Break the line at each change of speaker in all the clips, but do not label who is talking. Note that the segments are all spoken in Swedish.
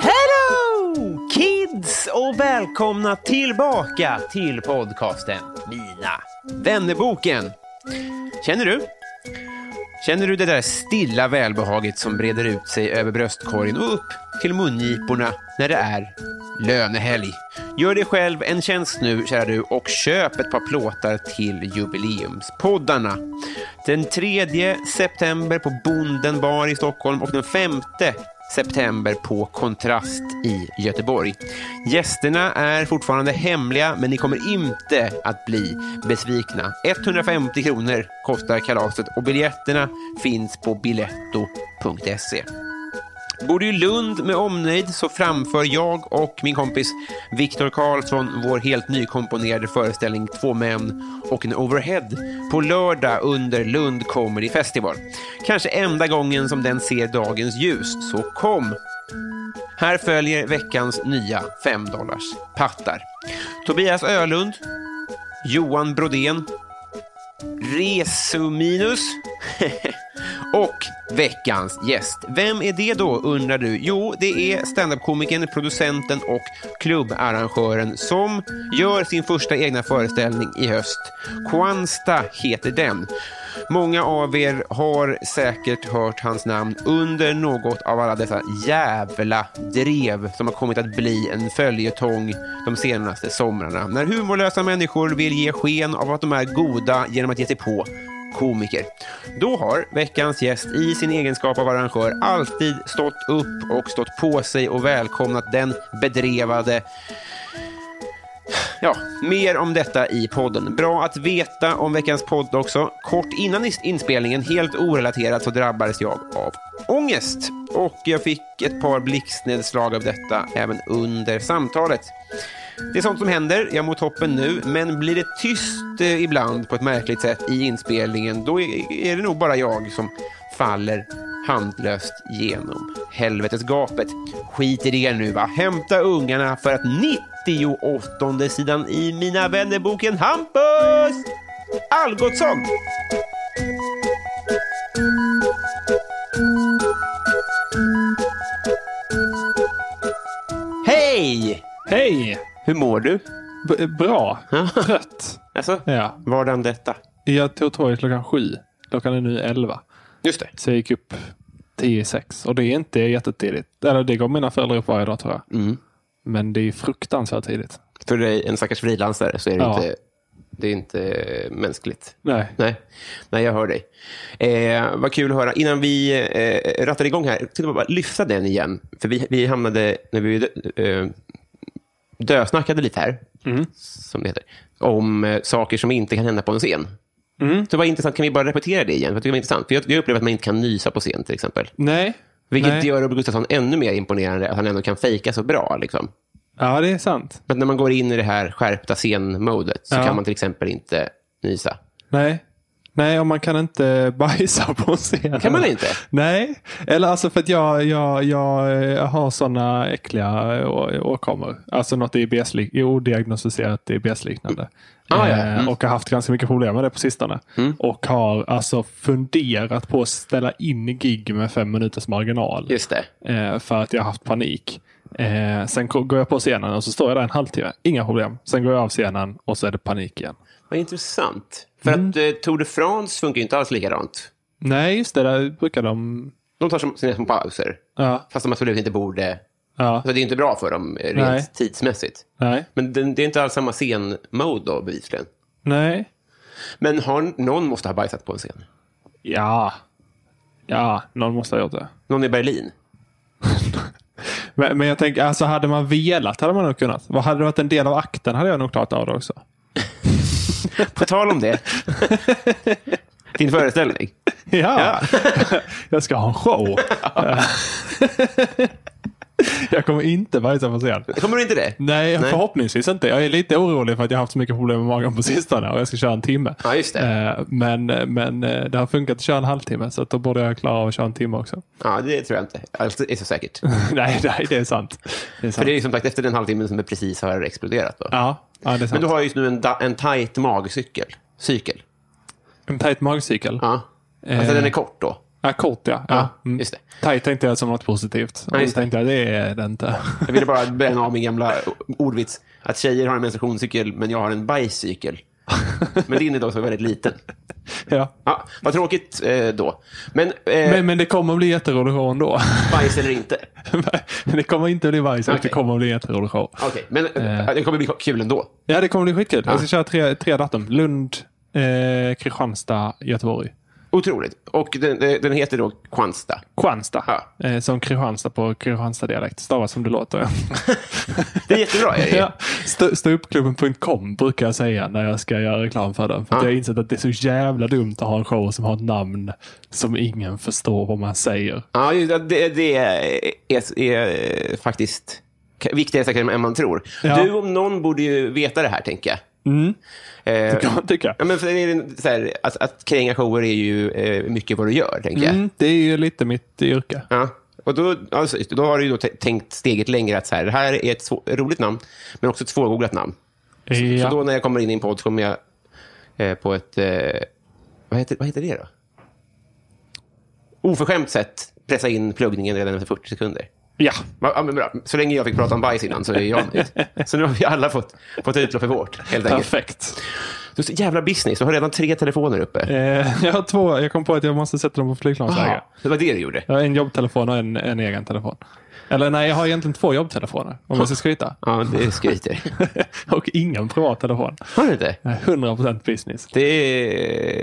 Hello kids och välkomna tillbaka till podcasten Mina vännerboken. Känner du? Känner du det där stilla välbehaget som breder ut sig över bröstkorgen och upp till mungiporna när det är lönehelg? Gör dig själv en tjänst nu, kära du, och köp ett par plåtar till jubileumspoddarna. Den 3 september på Bonden bar i Stockholm och den 5 september på Kontrast i Göteborg. Gästerna är fortfarande hemliga, men ni kommer inte att bli besvikna. 150 kronor kostar kalaset och biljetterna finns på biletto.se. Bor du i Lund med omnejd så framför jag och min kompis Viktor Karlsson vår helt nykomponerade föreställning Två män och en overhead på lördag under Lund Comedy Festival. Kanske enda gången som den ser dagens ljus, så kom! Här följer veckans nya 5 pattar. Tobias Ölund, Johan Brodén, Resuminus och veckans gäst. Vem är det då, undrar du? Jo, det är standup-komikern, producenten och klubbarrangören som gör sin första egna föreställning i höst. Kwansta heter den. Många av er har säkert hört hans namn under något av alla dessa jävla drev som har kommit att bli en följetong de senaste somrarna. När humorlösa människor vill ge sken av att de är goda genom att ge sig på komiker. Då har veckans gäst i sin egenskap av arrangör alltid stått upp och stått på sig och välkomnat den bedrevade Ja, mer om detta i podden. Bra att veta om veckans podd också. Kort innan inspelningen, helt orelaterat, så drabbades jag av ångest. Och jag fick ett par blixtnedslag av detta även under samtalet. Det är sånt som händer, jag mår toppen nu, men blir det tyst eh, ibland på ett märkligt sätt i inspelningen, då är är det nog bara jag som faller handlöst genom helvetesgapet. Skit i det nu va, hämta ungarna för att 98 sidan i Mina vännerboken Hampus Algotsson! Hej!
Hej!
Hur mår du?
B- bra. Trött.
Alltså,
Ja.
vardagen detta.
Jag tog tåget klockan sju. Klockan är nu elva.
Just det.
Så jag gick upp tio i sex. Och det är inte jättetidigt. Eller det går mina föräldrar upp varje dag tror jag. Men det är fruktansvärt tidigt.
För dig, en stackars frilansare så är det,
Ja.
inte, det är inte eh, mänskligt.
Nej.
Nej, Nej jag hör dig. Eh, vad kul att höra. Innan vi eh, rattar igång här, tänkte jag bara lyfta den igen. För vi, vi hamnade, när vi eh, dösnackade lite här,
Mm.
som det heter, om eh, saker som inte kan hända på en scen.
Mm.
Så det var intressant, kan vi bara repetera det igen? För jag tycker det var intressant. För jag, jag upplever att man inte kan nysa på scen till exempel.
Nej.
Vilket
Nej.
gör Robert Gustafsson ännu mer imponerande, att han ändå kan fejka så bra. Liksom.
Ja, det är sant.
För att när man går in i det här skärpta scenmodet så
Ja.
kan man till exempel inte nysa.
Nej. Nej, och man kan inte bajsa på scenen.
Kan man inte?
Nej, eller alltså för att jag, jag, jag eh, har sådana äckliga eh, å- åkommor. Alltså något IBS-liknande, odiagnostiserat IBS-liknande.
Ah, ja. Mm.
Eh, Och har haft ganska mycket problem med det på sistone. Och har alltså funderat på att ställa in gig med fem minuters marginal.
Just det.
Eh, för att jag har haft panik. Eh, sen ko- går jag på scenen och så står jag där en halvtimme. Inga problem. Sen går jag av scenen och så är det panik igen.
Vad intressant. För
Mm.
att eh, Tour de France funkar ju inte alls likadant.
Nej, just det. Där brukar de...
De tar som- sina små pauser.
Ja,
Fast de absolut inte borde.
ja,
Alltså, det är inte bra för dem eh, rent
Nej.
tidsmässigt.
nej,
Men det, det är inte alls samma scenmode då, bevisligen.
nej.
Men har, någon måste ha bajsat på en scen.
Ja. Ja, någon måste ha gjort det.
Någon i Berlin.
Men, men jag tänker, alltså hade man velat hade man nog kunnat. Vad hade det varit en del av akten hade jag nog klarat av det också.
På tal om det. Din föreställning.
Ja, jag ska ha en show. jag kommer inte bajsa på scen.
Kommer du inte det?
Nej,
Nej.
förhoppningsvis inte. Jag är lite orolig för att jag har haft så mycket problem med magen på sistone och jag ska köra en timme.
Ja, just det.
Eh, Men, men eh, det har funkat att köra en halvtimme så att då borde jag klara av att köra en timme också.
Ja, det tror jag inte. Allt är så säkert.
nej, nej, det är sant. Det är sant.
För det är ju som sagt efter den halvtimmen som det precis har exploderat. Då.
Ja, ja, det är sant.
Men du har ju just nu en, da- en tajt magcykel. Cykel.
En tajt magcykel.
Ja. Alltså
Eh.
den är kort då.
Ja, kort ja.
Ja,
ja. Mm.
just det.
Tajt tänkte jag som något positivt.
Ja,
Ja,
just det.
tänkte jag, det är det inte.
Jag ville bara bränna av min gamla ordvits. Att tjejer har en menstruationscykel, men jag har en bajscykel. Men din är då så väldigt liten.
ja.
Ja, vad tråkigt eh, då. Men, eh,
men, men det kommer att bli jätterolig show ändå.
bajs eller inte?
det kommer inte att bli varje sak.
Okej.
Det kommer att bli jätterolig show.
Okej, men eh. det kommer bli kul ändå.
Ja, det kommer att bli skitkul. Jag ska köra tre, tre datum. Lund, eh, Kristianstad, Göteborg.
Otroligt. Och den, eh, den heter då Kwansta.
Kristianstad.
Ja.
Eh, som Kristianstad på Kristianstad-dialekt. Stavas som det låter.
Det är jättebra. Erik.
ja. Stå- Ståuppklubben.com brukar jag säga när jag ska göra reklam för den. För att
Ja.
jag har insett att det är så jävla dumt att ha en show som har ett namn som ingen förstår vad man säger.
Ja, ju- det, det är, är, är faktiskt k- viktigare säkert än man tror.
Ja. Mm.
Du om någon borde ju veta det här, tänker jag. Eh,
Kan man tycka.
ja, men för det är en- så här, att, att kränga shower är ju eh, mycket vad du gör, tänker jag.
Mm, det är ju lite mitt yrke.
Ja. Och då, alltså, just det, då har du ju då t- tänkt steget längre att så här, det här är ett svå- roligt namn, men också ett svårgooglat namn.
Ja.
Så då när jag kommer in i en podd så kommer jag eh, på ett... Eh, vad, heter, vad heter det då? Oförskämt sätt pressa in pluggningen redan efter 40 sekunder.
ja.
Va- Ja, men bra. Så länge jag fick prata om bajs innan så är jag nöjd. Så nu har vi alla fått, fått utlopp för vårt, helt enkelt.
Perfekt.
Du är så jävla business. Du har redan tre telefoner uppe.
Eh, jag har två. Jag kom på att jag måste sätta dem på flygplansläge.
Aha, det var det du gjorde.
Jag har en jobbtelefon och en, en egen telefon. Eller nej, jag har egentligen två jobbtelefoner om jag ska skryta.
Ja, det skryter.
och ingen privat telefon.
Har du inte?
Jag är 100% business.
Det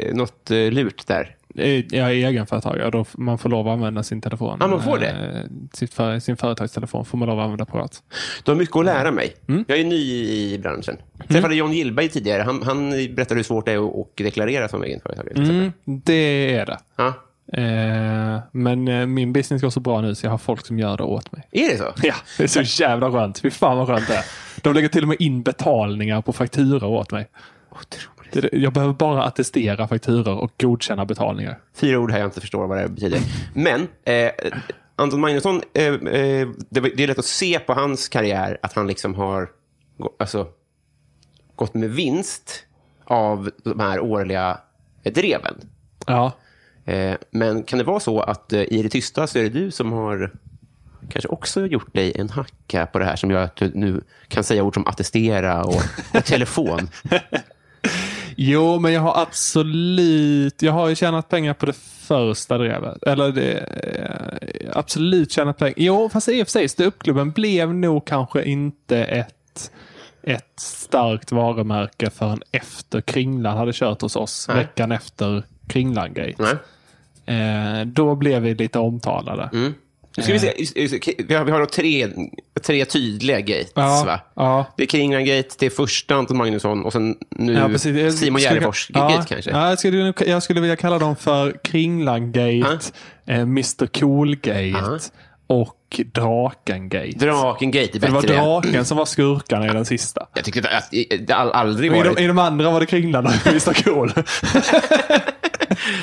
är något eh, lurt där.
Eh, Jag är egenföretagare och då f- man får lov att använda sin telefon.
Ja, man får det.
Eh, Sitt för, sin företagstelefon får man lov att använda privat.
Du har mycket att lära mig.
Mm.
Jag är ny i branschen. Jag träffade John Gillberg tidigare. Han, han berättade hur svårt det är att att deklarera som egenföretagare. till exempel.
Mm, det är det.
Ja.
Eh, Men eh, min business går så bra nu så jag har folk som gör det åt mig.
Är det så?
Ja, det är så jävla skönt. Fy fan vad skönt det är. De lägger till och med in betalningar på fakturor åt mig.
Otroligt.
Det är det- Jag behöver bara attestera fakturor och godkänna betalningar.
Fyra ord här jag inte förstår vad det här betyder. Men eh, Anton Magnusson, eh, eh, det, var- det är lätt att se på hans karriär att han liksom har gå- alltså, gått med vinst av de här årliga eh, dreven.
Ja,
Eh, men kan det vara så att eh, i det tysta så är det du som har kanske också gjort dig en hacka på det här som gör att du nu kan säga ord som attestera och, och telefon?
Jo, men jag har absolut... Jag har ju tjänat pengar på det första drevet. Eller det, eh, absolut tjänat pengar. Jo, fast i och för sig, ståuppklubben blev nog kanske inte ett, ett starkt varumärke förrän efter Kringlan hade kört hos oss.
Nej.
Veckan efter Kringlan-gate.
Nej.
Eh, då blev vi lite
Mm.
omtalade.
Nu ska vi
Eh.
se. Just- just- Vi har, vi har då tre, tre tydliga gates,
Ja,
va?
ja.
Det är Kringlan Gate, det är första Anton Magnusson och sen nu
Ja, precis. Jag
Simon
skulle-
Gärdenfors
ja,
Gate kanske.
Ja, jag, skulle, nog- jag skulle vilja kalla dem för Kringlan-gate, eh, Mr Cool-gate och Draken-gate.
Draken Gate är
det var
bättre.
draken som var skurkarna i den sista.
Jag tyckte att, att det all, aldrig
I
var
de, I de andra var det Kringlan och Mr Cool.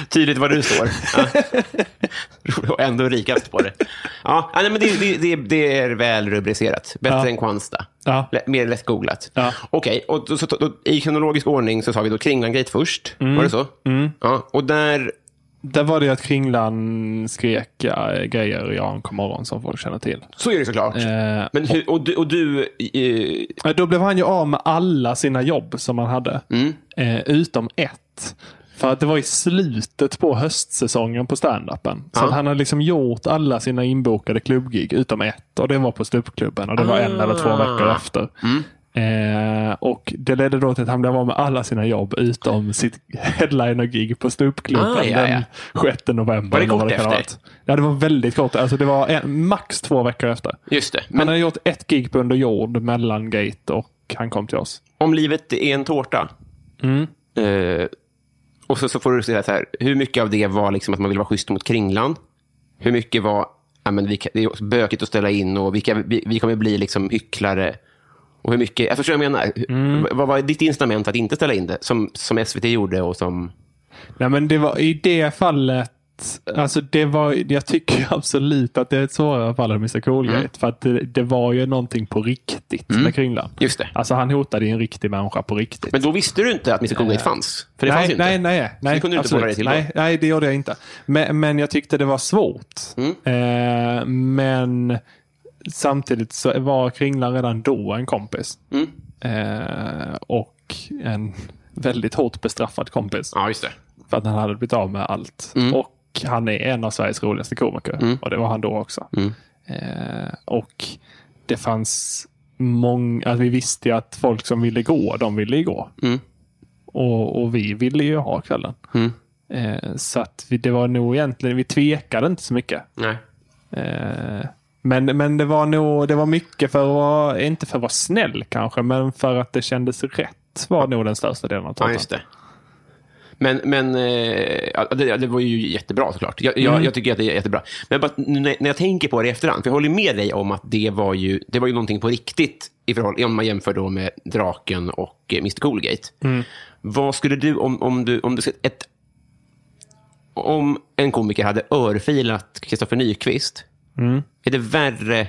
Tydligt var du står. Ja. Och ändå rikast på det. Ja, ja, nej, men det, det, det, det är väl rubricerat. Bättre
Ja.
än Kwanzaa.
Ja.
Lä- Mer lättgooglat.
Ja.
Okej, och då, så, då, i kronologisk ordning så sa vi då Kringlan-gate först. Var
Mm.
det så? Ja, och där...
Där var det ju att Kringlan skrek eh, grejer i Ankomorgon som folk känner till.
Så är det såklart.
Eh,
Men hur, och du... Och du eh,
Ja, Då blev han ju av med alla sina jobb som han hade.
Mm.
Eh, utom ett. För att det var i slutet på höstsäsongen på standupen. Så att han hade liksom gjort alla sina inbokade klubbgig utom ett. Och det var på ståuppklubben och det var
Ah.
en eller två veckor efter.
Mm.
Eh, och Det ledde då till att han blev av med alla sina jobb utom sitt headliner-gig på ståuppklubben
Ah, ja, ja.
den 6 november.
Var det
eller vad
kort
kan ha
efter?
varit. Ja, det var väldigt kort. Alltså, det var en, max två veckor efter.
just det.
Han
Men
har gjort ett gig på under jord mellan Gate och han kom till oss.
om livet är en tårta. Eh, och så, så får du säga så här, hur mycket av det var liksom att man ville vara schysst mot Kringlan? Hur mycket var, ja, men vi, kan- det är bökigt att ställa in och vilka, vi, vi kommer bli liksom hycklare? Och hur mycket, jag förstår vad jag menar. V- Vad var ditt incitament att inte ställa in det? Som, som SVT gjorde och som...
Nej, men det var i det fallet. Alltså det var, jag tycker absolut att det är ett svårare fall än Mr Coolgate. För att det, det var ju någonting på riktigt med Kringlan.
Just det.
Alltså han hotade ju en riktig människa på riktigt.
Men då visste du inte att Mr Coolgate fanns? För det
nej,
fanns ju inte.
nej, nej, nej.
det kunde du inte
absolut.
våga dig till då?
nej, nej, det gjorde jag inte. Men, men jag tyckte det var svårt. Eh, men samtidigt så var Kringlan redan då en kompis.
Mm.
Eh, och en väldigt hårt bestraffad kompis.
Ja, just det.
För att han hade blivit av med allt. Och han är en av Sveriges roligaste komiker. Och det var han då också. Eh, och det fanns många, alltså vi visste ju att folk som ville gå, de ville ju gå. Och, och vi ville ju ha kvällen. Eh, så att vi, det var nog egentligen, vi tvekade inte så mycket.
Nej.
Eh, men, men det var nog, det var mycket för att vara, inte för att vara snäll kanske, men för att det kändes rätt var nog den största delen av
Ja,
tårtan.
just det. Men, men eh, ja, det, ja, det var ju jättebra såklart. Jag, jag, jag tycker att det är jättebra. Men bara, nu när, när jag tänker på det i efterhand, för jag håller med dig om att det var ju, det var ju någonting på riktigt i förhållande, om man jämför då med Draken och eh, Mr Coolgate. Vad skulle du, om, om du, om du sett ett, om en komiker hade örfilat Kristoffer Nyqvist, är det värre?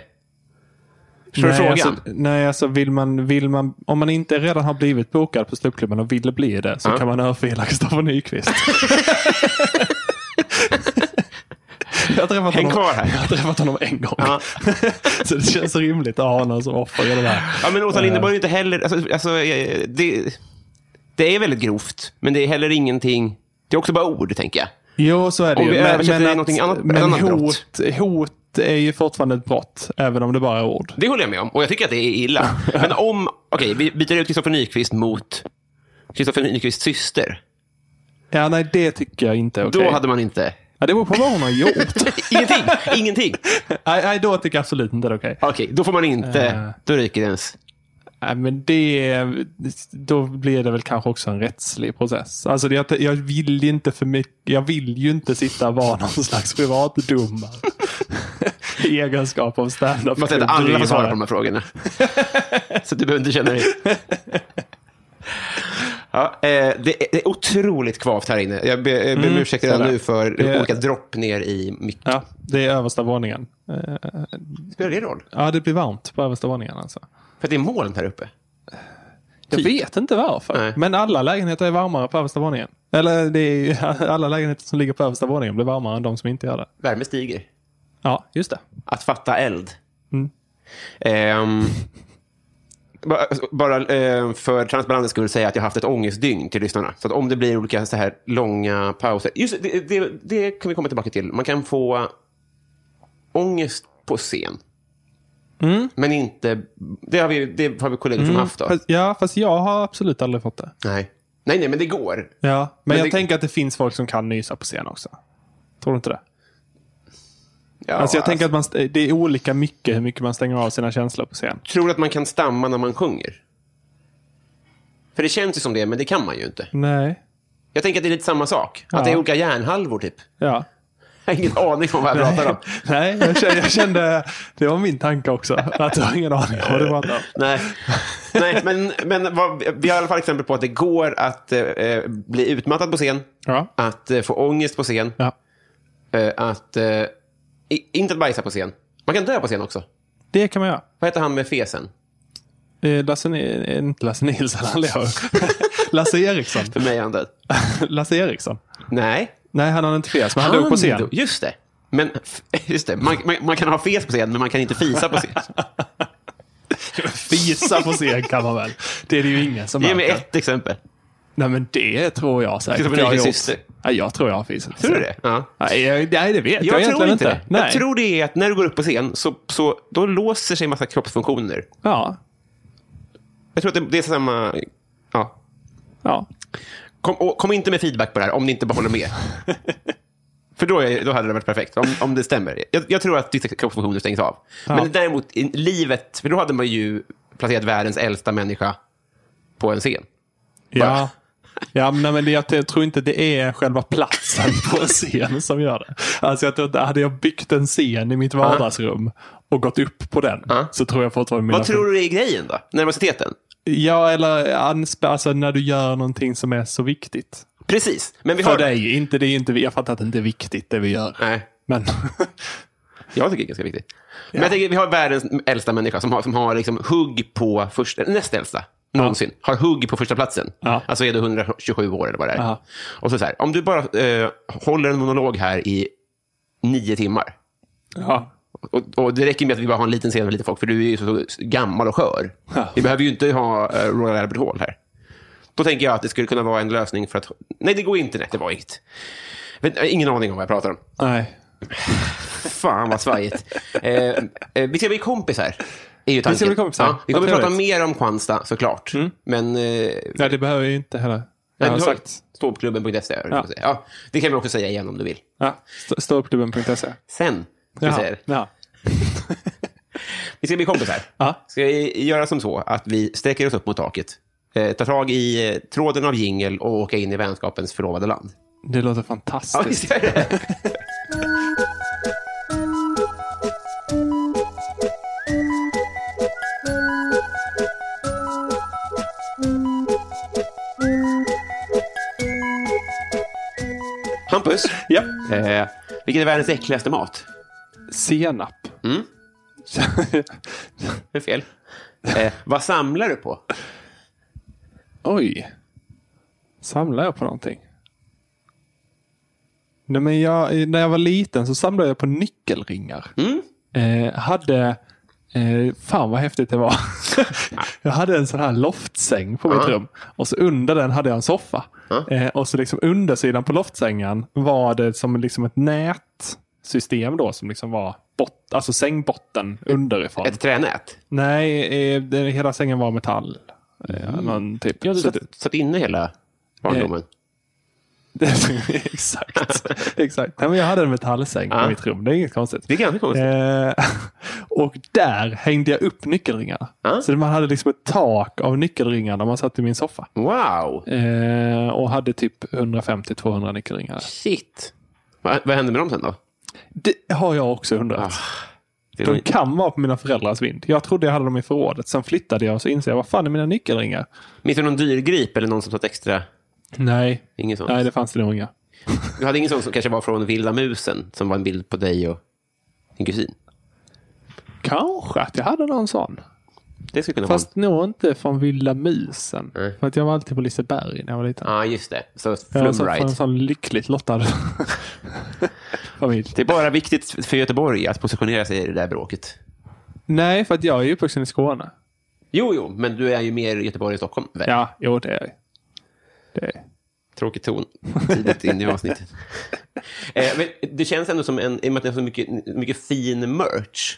Förstår du
Nej,
frågan?
alltså, nej, alltså vill man, vill man, om man inte redan har blivit bokad på ståuppklubben och vill bli det så kan man örfila Kristoffer Nyqvist. jag har träffat
Häng
honom,
kvar här.
Jag har träffat honom en gång.
Ja.
så det känns rimligt att ha honom som offer i det här.
Ja, men Åsa
Eh.
Linderborg är inte heller... Alltså, alltså, eh, det, det är väldigt grovt, men det är heller ingenting... Det är också bara ord, tänker jag.
Jo, så är det
Om
ju.
vi översätter det till någonting annat-
men
ett annat brott.
hot, hot är ju fortfarande ett brott, även om det bara är ord.
Det håller jag med om, och jag tycker att det är illa. Men om... Okej, vi byter ut Kristoffer Nyqvist mot Kristoffer Nyqvists syster.
Ja, nej, det tycker jag inte är okej.
Då hade man inte...
ja, det beror på vad hon har gjort.
Ingenting! ingenting!
nej, nej, då tycker jag absolut inte det är okej.
Okej, då får man inte...
Eh.
Då ryker ens...
Nej, men det, då blir det väl kanske också en rättslig process. Alltså det, jag, jag, vill ju inte för mycket, jag vill ju inte sitta och vara någon slags privatdomare. I egenskap av standup.
Man säger att alla får svara på de här frågorna. Så du behöver inte känna dig... Ja, eh, det är- det är otroligt kvavt här inne. Jag ber, jag ber om ursäkt redan
sådär.
nu för
Det-
olika dropp ner i micken.
Ja, det är översta våningen. Eh,
Spelar det roll?
Ja, det blir varmt på översta våningen alltså.
För att det är moln här uppe.
Jag vet inte varför.
Nej.
Men alla lägenheter är varmare på översta våningen. Eller det är, ju- alla lägenheter som ligger på översta våningen blir varmare än de som inte gör det.
Värme stiger.
Ja, just det.
Att fatta eld.
Mm.
Ehm, ba- bara eh, för transparensens skull säga att jag har haft ett ångestdygn till lyssnarna. Så att om det blir olika så här långa pauser. Just det, det, det kan vi komma tillbaka till. Man kan få ångest på scen. Men inte... Det har vi, det har vi kollegor som haft. Då.
Mm. Fast, ja, fast jag har absolut aldrig fått det.
Nej. nej, nej, men det går.
Ja, men, jag
det-
tänker att det finns folk som kan nysa på scen också. Tror du inte det?
Ja,
alltså jag tänker att man, st- det är olika mycket hur mycket man stänger av sina känslor på scen.
Tror du att man kan stamma när man sjunger? För det känns ju som det, men det kan man ju inte.
Nej.
Jag tänker att det är lite samma sak. Att det är olika hjärnhalvor, typ.
Ja.
Jag har ingen aning om vad jag pratar om.
Nej, jag kände, jag kände, det var min tanke också. Att jag har ingen aning om vad du pratar om.
Nej. Nej, men, men vad, vi har i alla fall exempel på att det går att eh, bli utmattad på scen,
Ja.
att eh, få ångest på scen,
Ja.
eh, att eh, i- inte att bajsa på scen. Man kan dö på scen också.
Det kan man göra.
Vad heter han med fesen?
Eh, Lasse, Ni- eh, inte Lasse Nilsson, han lever. Lasse Eriksson.
För mig är han död.
Lasse Eriksson.
Nej.
Nej, han hade inte fes, men han, dog på scen.
dog- Just det. Men, f- just det. Man, man, man kan ha fes på scen, men man kan inte fisa på scen.
Fisa på scen kan man väl? Det är det ju ingen som
Ge mig
märker.
ett exempel.
Nej, men det tror jag säkert.
Som en
jag har
egen
gjort.
syster.
Nej, jag tror jag har fisat på
Tror du
scen.
det? Ja.
Nej, jag- nej, det vet jag,
Jag, tror
egentligen
inte,
inte.
det.
Nej.
Jag tror det är att när du går upp på scen så, så då låser sig en massa kroppsfunktioner.
Ja.
Jag tror att det, det är samma... Ja.
ja.
Kom, och, kom inte med feedback på det här om ni inte bara håller med. För då, är, då hade det varit perfekt, om, om det stämmer. Jag, jag tror att ditt kroppsfunktioner stängs av. Men däremot i livet, för då hade man ju placerat världens äldsta människa på en scen.
Ja. Ja, men, nej, men det, jag t- tror inte det är själva platsen på en scen som gör det. Alltså, jag tror inte, hade jag byggt en scen i mitt vardagsrum och gått upp på den
Ja.
så tror jag fortfarande mina...
Vad tror du är grejen då? Nervositeten?
Ja, eller ansp- alltså, när du gör någonting som är så viktigt.
Precis. Men vi
För
har...
dig, inte, det är inte, jag fattar att det inte är viktigt det vi gör.
Nej,
Men
jag tycker det är ganska viktigt. Men jag tänker, vi har världens äldsta människa som har, som har liksom hugg på första, näst äldsta någonsin. Har hugg på första platsen.
Ja.
Alltså är det 127 år eller vad det är.
Ja.
Och så, så här, om du bara eh, håller en monolog här i nio timmar.
ja.
Och, och det räcker med att vi bara har en liten scen med lite folk, för du är ju så, så gammal och skör.
Ja.
Vi behöver ju inte ha eh, Royal Albert Hall här. Då tänker jag att det skulle kunna vara en lösning för att... Nej, det går inte. Nej, det var inget. Vet- Jag har ingen aning om vad jag pratar om.
Nej.
Fan vad svajigt. eh, eh, vi ska bli kompisar. Är ju tanken.
bli kompisar.
Ja, vi
Vad
kommer prata
trevligt.
mer om Kwanzaa såklart. Men... Eh,
Nej, det behöver jag ju inte heller. Jag har
du har-
sagt.
Ståuppklubben.se. E, höll jag på att säga. Ja, det kan vi också säga igen om du vill.
Ja, st- Ståuppklubben.se.
Sen. ska Vi, säga det.
Ja.
vi ska bli kompisar.
Ja.
Ska vi göra som så att vi sträcker oss upp mot taket, eh, tar tag i eh, tråden av jingel och åker in i vänskapens förlovade land?
Det låter
Ja,
fantastiskt.
visst gör det? Hampus,
Japp.
eh, vilken är världens äckligaste mat?
Senap.
Mm. Det är fel. Eh, vad samlar du på?
Oj. Samlar jag på någonting? Nej, men jag, när jag var liten så samlade jag på nyckelringar. Eh, hade... Eh, fan vad häftigt det var. jag hade en sån här loftsäng på mitt rum. Och så under den hade jag en soffa. Eh, och så liksom undersidan på loftsängen var det som liksom ett nätsystem då som liksom var bot, alltså sängbotten underifrån.
Ett tränät?
Nej, eh, det, hela sängen var metall. Eh, någon typ.
Ja, du
Så
satt, satt inne hela barndomen.
det- exakt. exakt. Nej, men jag hade en metallsäng
Ja.
på mitt rum. Det är inget konstigt.
Det är ganska konstigt.
Eh, och där hängde jag upp nyckelringarna.
Ja.
Så man hade liksom ett tak av nyckelringar när man satt i min soffa.
Wow!
Eh, och hade typ 150-200 nyckelringar.
Shit! Va, vad hände med dem sen då?
Det har jag också undrat.
Ah, Det var-
De kan vara på mina föräldrars vind. Jag trodde jag hade dem i förrådet. Sen flyttade jag och så insåg jag, vad fan är mina nyckelringar?
Minns du någon dyrgrip eller någon som satt extra?
Nej,
Ingen sån.
Nej det fanns det nog inga.
Du hade ingen sån som kanske var från Vilda musen, som var en bild på dig och din kusin?
Kanske att jag hade någon sån.
Det skulle kunna
Fast nog inte från Vilda Musen.
Nej.
För att jag var alltid på Liseberg när jag var liten.
vara en... Ja, just det. Så
jag var så-
flumride.
från en sån lyckligt lottad familj.
Det är bara viktigt för Göteborg att positionera sig i det där bråket.
Nej, för att jag är ju uppvuxen i Skåne.
Jo, jo, men du är ju mer i Göteborg än Stockholm. väl?
Ja, jo det är jag. Det är. jag.
Tråkig ton tidigt in i avsnittet. eh, men det känns ändå som en, i och med att det är så mycket, mycket fin merch.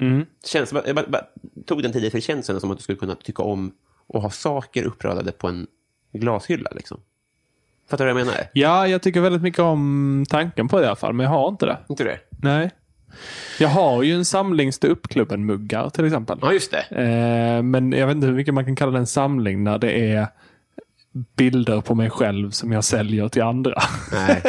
Mm.
Det Känns, jag bara, bara, tog den tidigt för det känns ändå som att du skulle kunna tycka om att ha saker uppradade på en glashylla. Liksom. Fattar du vad jag menar?
Ja, jag tycker väldigt mycket om tanken på det i alla fall, men jag har inte det.
Inte det?
Nej. Jag har ju en samling Ståuppklubben-muggar till exempel.
Ja, just det.
Eh, men jag vet inte hur mycket man kan kalla det en samling när det är bilder på mig själv som jag säljer till andra.
Nej.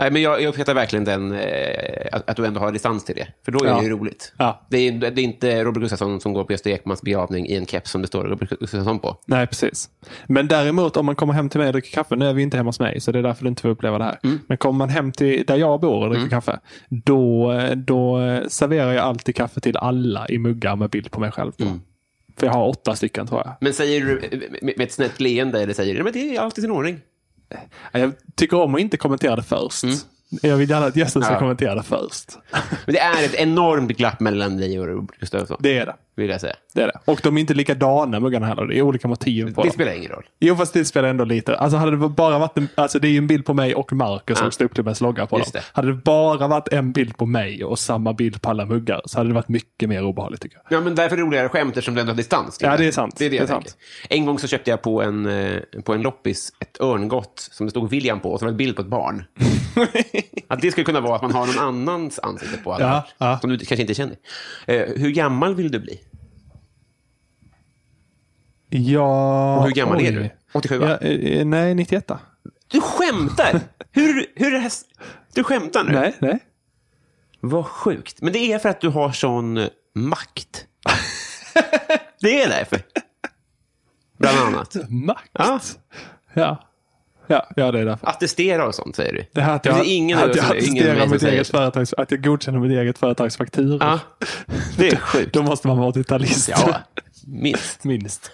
Nej, men jag, jag uppskattar verkligen den, eh, att, att du ändå har distans till det. För då är
Ja.
det ju roligt.
Ja.
Det, är, det är inte Robert Gustafsson som går på Gösta Ekmans begravning i en keps som det står Robert Gustafsson på.
Nej, precis. Men däremot om man kommer hem till mig och dricker kaffe. Nu är vi inte hemma hos mig, så det är därför du inte får uppleva det här.
Mm.
Men kommer man hem till där jag bor och dricker kaffe, då, då serverar jag alltid kaffe till alla i muggar med bild på mig själv. På.
Mm.
För jag har åtta stycken tror jag.
Men säger du eh, med, med ett snett leende eller säger du men det är alltid sin ordning?
Ja, Jag tycker om att inte kommentera det först. Jag vill gärna att gästen ska
Mm. Ja.
kommentera det först.
Men det är ett enormt glapp mellan dig och Robert Gustafsson,
Det är det.
vill jag säga.
det är det. Och de är inte likadana muggarna heller. Det är olika motiv på
Det
dem.
spelar ingen roll.
Jo, fast det spelar ändå lite. Alltså hade det bara varit en, alltså det är ju en bild på mig och Marcus som ståuppklubbens logga på dem.
Just det.
Hade det bara varit en bild på mig och samma bild på alla muggar så hade det varit mycket mer obehagligt tycker jag.
Ja, men därför är det roligare skämt eftersom du ändå har distans. till
Ja, det är sant.
Det är det,
Det är
jag tänker.
sant.
En gång så köpte jag på en, eh, på en loppis ett örngott som det stod William på och som var en bild på ett barn. att det skulle kunna vara att man har någon annans ansikte på. alla
Ja,
fall,
ja.
Som du kanske inte känner. Eh, hur gammal vill du bli?
Ja...
Och hur gammal är du? 87, va?
Ja, eh, nej, 91.
Du skämtar! hur, hur är det här? s- Du skämtar nu?
Nej, nej.
Vad sjukt. Men det är för att du har sån eh, makt. det är därför. Bland annat.
Max?
Ja.
Ja. Ja, ja det är därför.
Attestera och sånt, säger du.
Det här att
Det
jag,
finns ingen av
att
oss
jag
som- ingen av mig
attesterar
som
mitt
säger
eget
så.
företags, att jag godkänner mitt eget företags faktura.
Ja, det är sjukt.
Då måste man vara 80-talist.
Ja, minst.
Minst.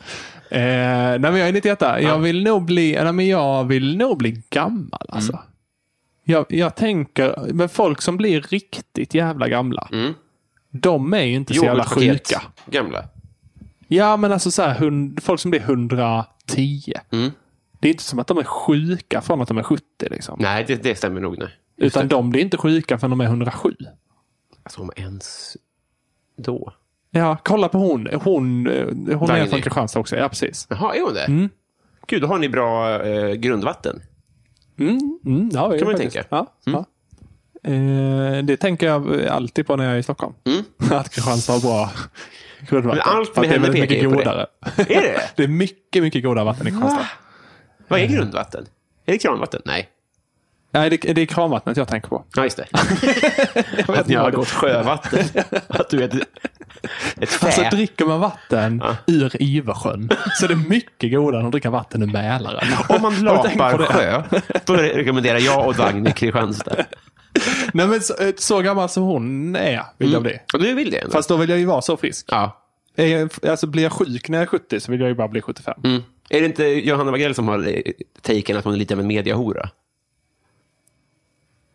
Eh, nej, men jag är 91. Jag vill nog bli, nej, men jag vill nog bli gammal.
Mm.
Alltså. Jag, jag tänker, men folk som blir riktigt jävla gamla.
Mm.
De är ju inte så jävla
Yoghurtpaket.
sjuka.
Gamla.
Ja, men alltså så här, hund, folk som blir 110.
Mm.
Det är inte som att de är sjuka från att de är 70. Liksom.
Nej, det, det stämmer nog. Nej.
Utan de blir inte sjuka förrän de är 107.
Alltså, om ens då.
Ja, kolla på hon. Hon, eh, hon är
Dagny.
från Kristianstad också. Ja, precis.
Jaha, är hon det? Gud, då har ni bra eh, grundvatten.
Mm, ja, kan
man ju tänka. Mm.
Ja, ja. Eh, det tänker jag alltid på när jag är i Stockholm. Att Kristianstad har bra grundvatten.
Mm. Men allt
För
med
att det är
henne
väldigt
pekar
mycket
ju på det.
godare.
Är det?
Det är mycket, mycket godare vatten i Kristianstad.
Vad är grundvatten? Är det kranvatten? Nej.
Nej, det, det är kranvattnet jag tänker på.
Ja, just det. att ni har gått sjövatten. Att du är ett, ett fä.
Alltså dricker man vatten ur Iversjön så är det mycket godare än att dricka vatten ur Mälaren.
om man
Har du tänkt på
lapar
det?
sjö, då rekommenderar jag och Dagny Kristianstad.
Nej, men så, eh, så gammal som hon är vill jag bli.
Och du vill det? ändå?
Fast då vill jag ju vara så frisk.
Mm. ja.
Är jag, alltså, blir jag sjuk när jag är 70 så vill jag ju bara bli 75.
Mm. Är det inte Johanna Wagrell som har eh, taken att hon är lite av en mediahora?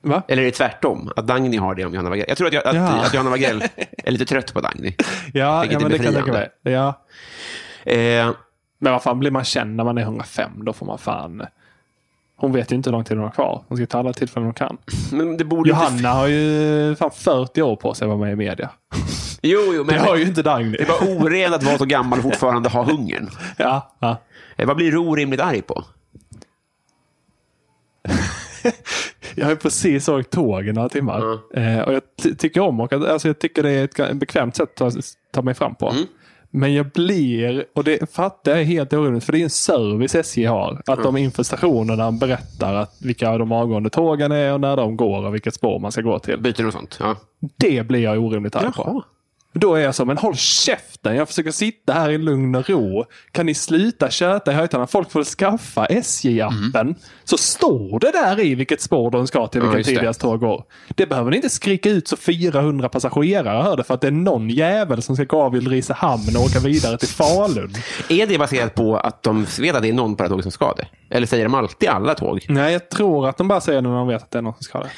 Va?
Eller är det tvärtom? Att Dagny har det om Johanna Wagrell? Jag tror att, jag, att,
Ja.
att Johanna Wagrell är lite trött på Dagny.
Ja,
Vilket
ja
är
men det kan jag tänka mig.
befriande.
Ja.
Eh,
Men vad fan blir man känd när man är 105? Då får man fan... Hon vet ju inte hur lång tid hon har kvar. Hon ska ta alla tillfällen hon kan.
men det borde inte...
Johanna har ju fan 40 år på sig att vara med i media.
Jo, jo, men
Det har ju inte Dagny.
det var oren att vara så gammal och fortfarande ha hungern.
Ja, ja.
Eh, vad blir du orimligt arg på?
Jag har ju precis åkt tåg i några timmar. Eh, och jag ty- tycker om att åka. Alltså jag tycker det är ett ga- bekvämt sätt att ta, ta mig fram på. Men jag blir, och det fattar jag är helt orimligt, för det är en service SJ har. Att de inför stationerna berättar att vilka de avgående tågen är och när de går och vilket spår man ska gå till.
Byten och sånt? Ja.
Det blir jag orimligt arg
Jaha.
på. Då är jag så, men håll käften. Jag försöker sitta här i lugn och ro. Kan ni sluta köta i högtalarna? Folk får skaffa SJ-appen. Så står det där i vilket spår de ska till, vilken
Mm. just
tid
det.
deras tåg går. Det behöver ni inte skrika ut så 400 passagerare hör det för att det är någon jävel som ska gå av Ulricehamn och åka vidare till Falun.
Är det baserat på att de vet att det är någon på det här tåget som ska det? Eller säger de alltid alla tåg?
Nej, jag tror att de bara säger det när de vet att det är någon som ska ha det.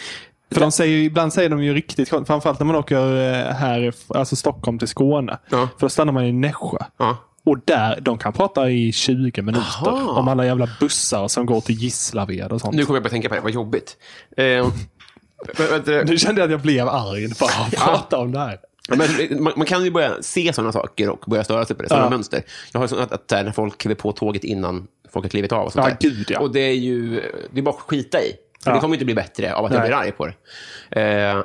För de säger, ju- ibland säger de ju riktigt kon- Framförallt när man åker eh, här, alltså Stockholm till Skåne.
Ja.
För då stannar man i Nässjö.
Ja.
Och där, de kan prata i 20 minuter
Aha.
om alla jävla bussar som går till Gislaved och sånt.
Nu
Nu,
kommer jag bara tänka på det, vad jobbigt. Eh, men- men-
kände jag att jag blev arg bara av att prata om det här.
Ja, Men eh, man, man kan ju börja se sådana saker och börja störa sig på det, sådana
Ja.
mönster. Jag har ju sånt att, att så här, när folk kliver på tåget innan folk har klivit av. Och, sånt
Ja,
där.
gud, ja.
och det är ju det är bara att skita i. För
Ja.
Det kommer inte bli bättre av att jag
Nej.
blir arg på det. Eh,